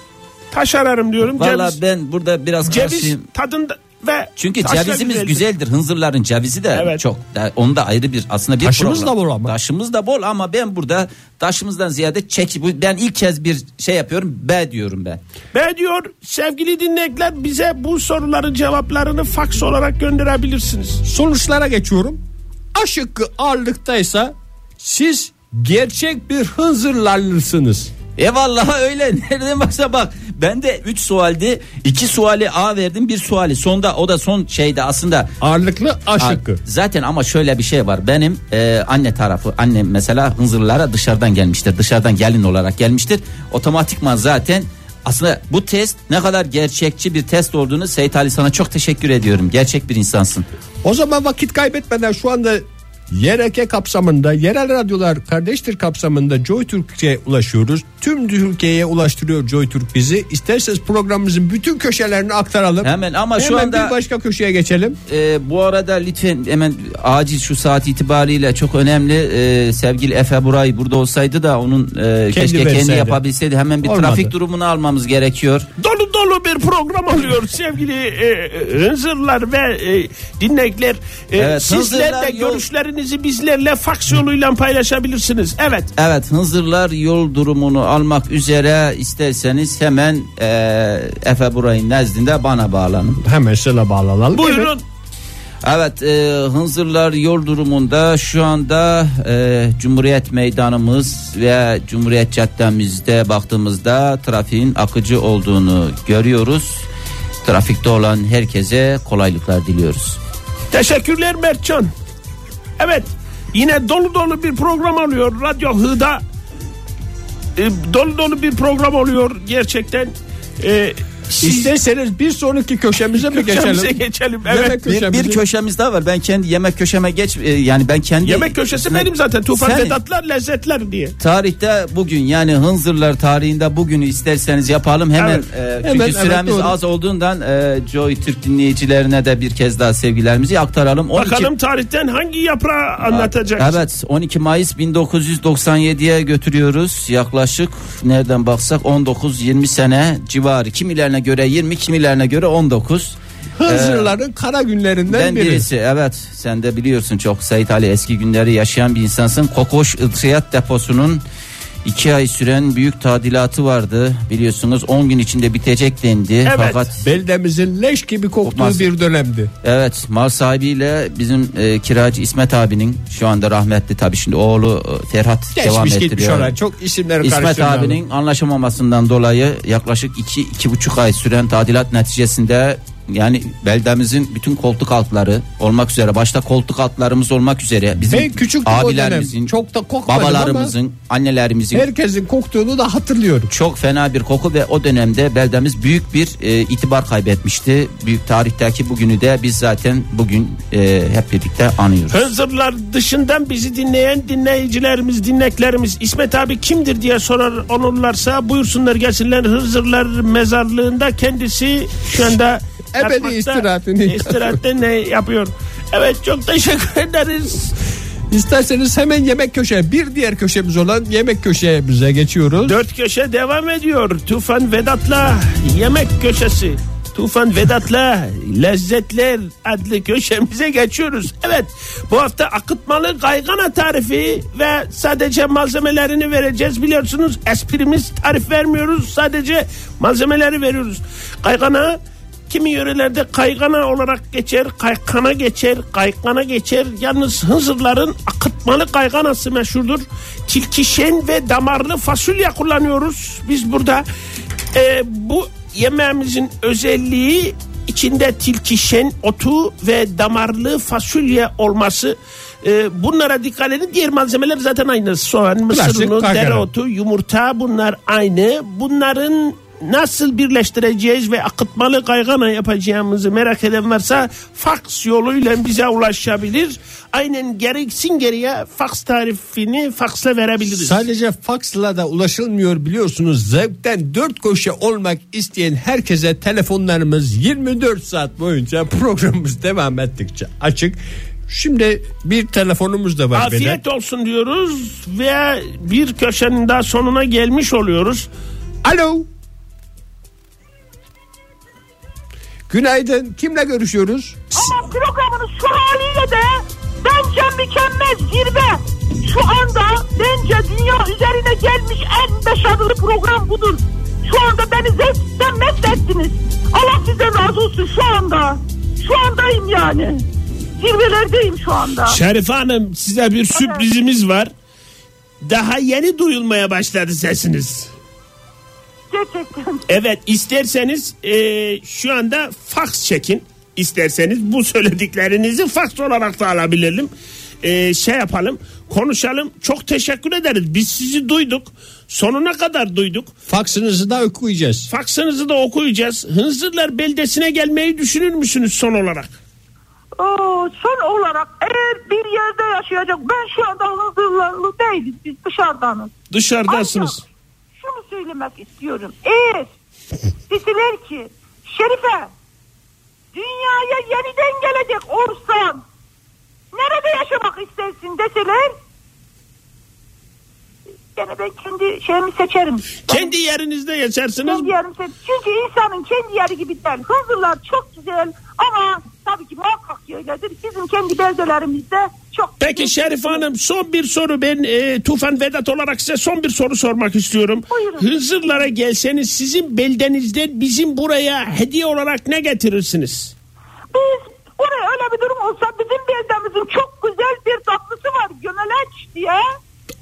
taş ararım diyorum.
Valla
ceviz
ben burada biraz
ceviz
karşıyım.
tadında
ve
Çünkü
taşla
cevizimiz
güzel-
güzeldir. Hınzırların cevizi de
Evet.
çok. Da- Onu da ayrı bir aslında bir
Taşımız
problem.
da bol ama.
Taşımız da bol ama ben burada taşımızdan ziyade çek. bu- Ben ilk kez bir şey yapıyorum. B diyorum ben.
Ve diyor sevgili dinleyiciler bize bu soruların cevaplarını faks olarak gönderebilirsiniz.
Sonuçlara geçiyorum. A şıkkı ağırlıktaysa siz gerçek bir hınzırlarlısınız.
E vallahi öyle. Nereden baksa bak. Ben de 3 sualdi. 2 suali A verdim. Bir suali sonda o da son şeyde aslında
Ağırlıklı A şıkkı.
Zaten ama şöyle bir şey var. Benim e, anne tarafı annem mesela Hınzırlara dışarıdan gelmiştir. Dışarıdan gelin olarak gelmiştir. Otomatikman zaten aslında bu test ne kadar gerçekçi bir test olduğunu Seyit Ali sana çok teşekkür ediyorum. Gerçek bir insansın.
O zaman vakit kaybetmeden şu anda YRK kapsamında yerel radyolar kardeştir kapsamında Joy Türk'e ulaşıyoruz. Tüm Türkiye'ye ulaştırıyor Joy Türk bizi. İsterseniz programımızın bütün köşelerini aktaralım.
Hemen ama şu
Hemen
anda-
bir başka köşeye geçelim.
E, bu arada lütfen hemen acil şu saat itibariyle çok önemli e, sevgili Efe Buray burada olsaydı da onun e, keşke kendi
verseydi.
yapabilseydi. Hemen bir
Olmadı.
trafik durumunu almamız gerekiyor.
Dolu dolu bir program oluyor sevgili e, e, hınzırlar ve e, dinleyiciler. E,
Evet,
sizler
hınzırlar
de
yol-
görüşlerinizi bizlerle faks yoluyla paylaşabilirsiniz. Evet.
Evet Hınzırlar yol durumunu almak üzere isterseniz hemen e, Efe Buray'ın nezdinde bana bağlanın.
Hemen şöyle bağlanalım. Evet.
Buyurun.
Evet e, Hınzırlar yol durumunda şu anda e, Cumhuriyet Meydanımız ve Cumhuriyet Caddemizde baktığımızda trafiğin akıcı olduğunu görüyoruz. Trafikte olan herkese kolaylıklar diliyoruz.
Teşekkürler Mertcan. Evet. Yine dolu dolu bir program oluyor Radyo Hı'da. E, dolu dolu bir program oluyor gerçekten. E, siz-
İsterseniz bir sonraki köşemize mi
Köşemize
geçelim?
geçelim.
Yemek
Evet.
Bir, bir
köşemizi-
köşemiz daha var. Ben kendi yemek köşeme geç e, yani ben kendi
Yemek köşesi benim zaten. Tufan
Sen-
Vedatlar lezzetler diye.
Tarihte bugün yani Hınzırlar tarihinde bugünü isterseniz yapalım hemen
Evet.
e, çünkü
Hemen, evet,
süremiz
doğru.
az olduğundan e, Joy Türk dinleyicilerine de bir kez daha sevgilerimizi aktaralım. 12
Bakalım tarihten hangi yaprağı anlatacak?
Evet 12 Mayıs 1997'ye götürüyoruz yaklaşık nereden baksak 19-20 sene civarı kimilerine göre 20 kimilerine göre 19.
Hızırların kara günlerinden
Ee, Ben
biri.
birisi evet sen de biliyorsun çok Sait Ali eski günleri yaşayan bir insansın. Kokoş Itriyat Deposu'nun iki ay süren büyük tadilatı vardı biliyorsunuz 10 gün içinde bitecek dendi.
Evet.
Fakat
Beldemizin leş gibi koktuğu
Kokmaz.
bir dönemdi.
evet mal sahibiyle bizim e, kiracı İsmet abinin şu anda rahmetli tabii şimdi oğlu e, Ferhat devam
Geçmiş
ettiriyor.
gitmiş olan çok isimleri
İsmet
karıştırmayalım.
abinin anlaşamamasından dolayı yaklaşık 2 iki, iki buçuk ay süren tadilat neticesinde yani beldemizin bütün koltuk altları olmak üzere başta koltuk altlarımız olmak üzere bizim
Ben küçüktüm o
abilerimizin,
dönem. Çok da kokmadım
babalarımızın, annelerimizin
Herkesin koktuğunu da hatırlıyorum.
çok fena bir koku ve o dönemde beldemiz büyük bir e, itibar kaybetmişti. Büyük tarihteki bugünü de biz zaten bugün e, hep birlikte anıyoruz.
Hınzırlar dışından bizi dinleyen dinleyicilerimiz, dinleklerimiz İsmet abi kimdir diye sorar olurlarsa buyursunlar gelsinler Hınzırlar mezarlığında kendisi şu anda
Ebedi
yatmakta,
istirahatini yapıyor.
istirahatte ne yapıyor. Evet çok teşekkür ederiz.
İsterseniz hemen yemek köşe bir diğer köşemiz olan yemek köşemize geçiyoruz.
Dört köşe devam ediyor. Tufan Vedat'la yemek köşesi. Tufan Vedat'la lezzetler adlı köşemize geçiyoruz. Evet bu hafta akıtmalı kaygana tarifi ve sadece malzemelerini vereceğiz. Biliyorsunuz esprimiz tarif vermiyoruz sadece malzemeleri veriyoruz. Kaygana kimi yörelerde kaygana olarak geçer, kaykana geçer, kaykana geçer. Yalnız Hızırların akıtmalı kayganası meşhurdur. Tilkişen ve damarlı fasulye kullanıyoruz. Biz burada e, bu yemeğimizin özelliği içinde tilkişen otu ve damarlı fasulye olması. E, bunlara dikkat edin. Diğer malzemeler zaten aynı. Soğan, mısır
Klasik
unu,
kaygana.
dereotu otu, yumurta bunlar aynı. Bunların nasıl birleştireceğiz ve akıtmalı kaygana yapacağımızı merak eden varsa faks yoluyla bize ulaşabilir. Aynen gereksin geriye faks tarifini faksla verebiliriz.
Sadece faksla da ulaşılmıyor biliyorsunuz. Zevkten dört köşe olmak isteyen herkese telefonlarımız 24 saat boyunca programımız devam ettikçe açık. Şimdi bir telefonumuz da var benim.
Afiyet olsun diyoruz ve bir köşenin daha sonuna gelmiş oluyoruz.
Alo. Günaydın. Kimle görüşüyoruz?
Ama programının şu haliyle de bence mükemmel zirve. Şu anda bence dünya üzerine gelmiş en başarılı program budur. Şu anda beni zevkten meslettiniz. Allah sizden razı olsun şu anda. Şu andayım yani. Zirvelerdeyim şu anda.
Şerife Hanım size bir sürprizimiz var. Daha yeni duyulmaya başladı sesiniz.
Gerçekten.
Evet isterseniz eee, şu anda fax çekin. İsterseniz bu söylediklerinizi fax olarak da alabilirim. Eee, şey yapalım konuşalım. Çok teşekkür ederiz. Biz sizi duyduk. Sonuna kadar duyduk.
Faksınızı da okuyacağız.
Faksınızı da okuyacağız. Hınzırlar beldesine gelmeyi düşünür müsünüz son olarak?
Oo, son olarak eğer bir yerde yaşayacak ben şu anda hazırlarlı değiliz biz dışarıdanız.
Dışarıdasınız.
Ancak şunu söylemek istiyorum. Eğer deseler ki Şerife dünyaya yeniden gelecek olsan nerede yaşamak istersin deseler gene ben kendi şeyimi seçerim.
Kendi yerinizde yaşarsınız.
Kendi yerimi seç- Çünkü insanın kendi yeri gibi değil. Hızırlar çok güzel ama tabii ki muhakkak ki öyledir. Bizim kendi beldelerimizde çok
Peki Şerif Hanım son bir soru ben e, Tufan Vedat olarak size son bir soru sormak istiyorum.
Buyurun.
Hızırlara gelseniz sizin beldenizden bizim buraya hediye olarak ne getirirsiniz?
Biz oraya öyle bir durum olsa bizim beldemizin çok güzel bir tatlısı var gömeleç diye.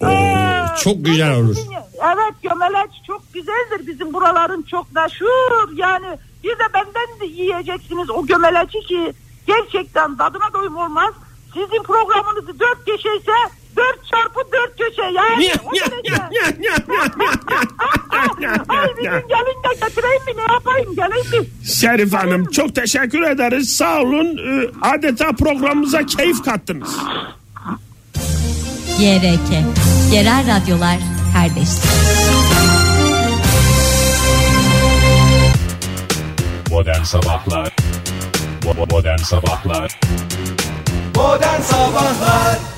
Ee,
çok güzel
evet,
olur.
bizim- Evet gömeleç çok güzeldir bizim buraların çok meşhur yani bir de benden de yiyeceksiniz o gömeleci ki gerçekten tadına doyum olmaz. Sizin programınızı dört köşe ise dört çarpı dört köşe yani. o derece. Ay bizim gelin de getireyim mi ne yapayım geleyim mi?
Şerif Hanım çok teşekkür ederiz. Sağ olun. E, adeta programımıza keyif kattınız.
YRK Yerel Radyolar Kardeşliği
Modern Sabahlar Bo- bo- Modern Sabahlar
Modern Sabahlar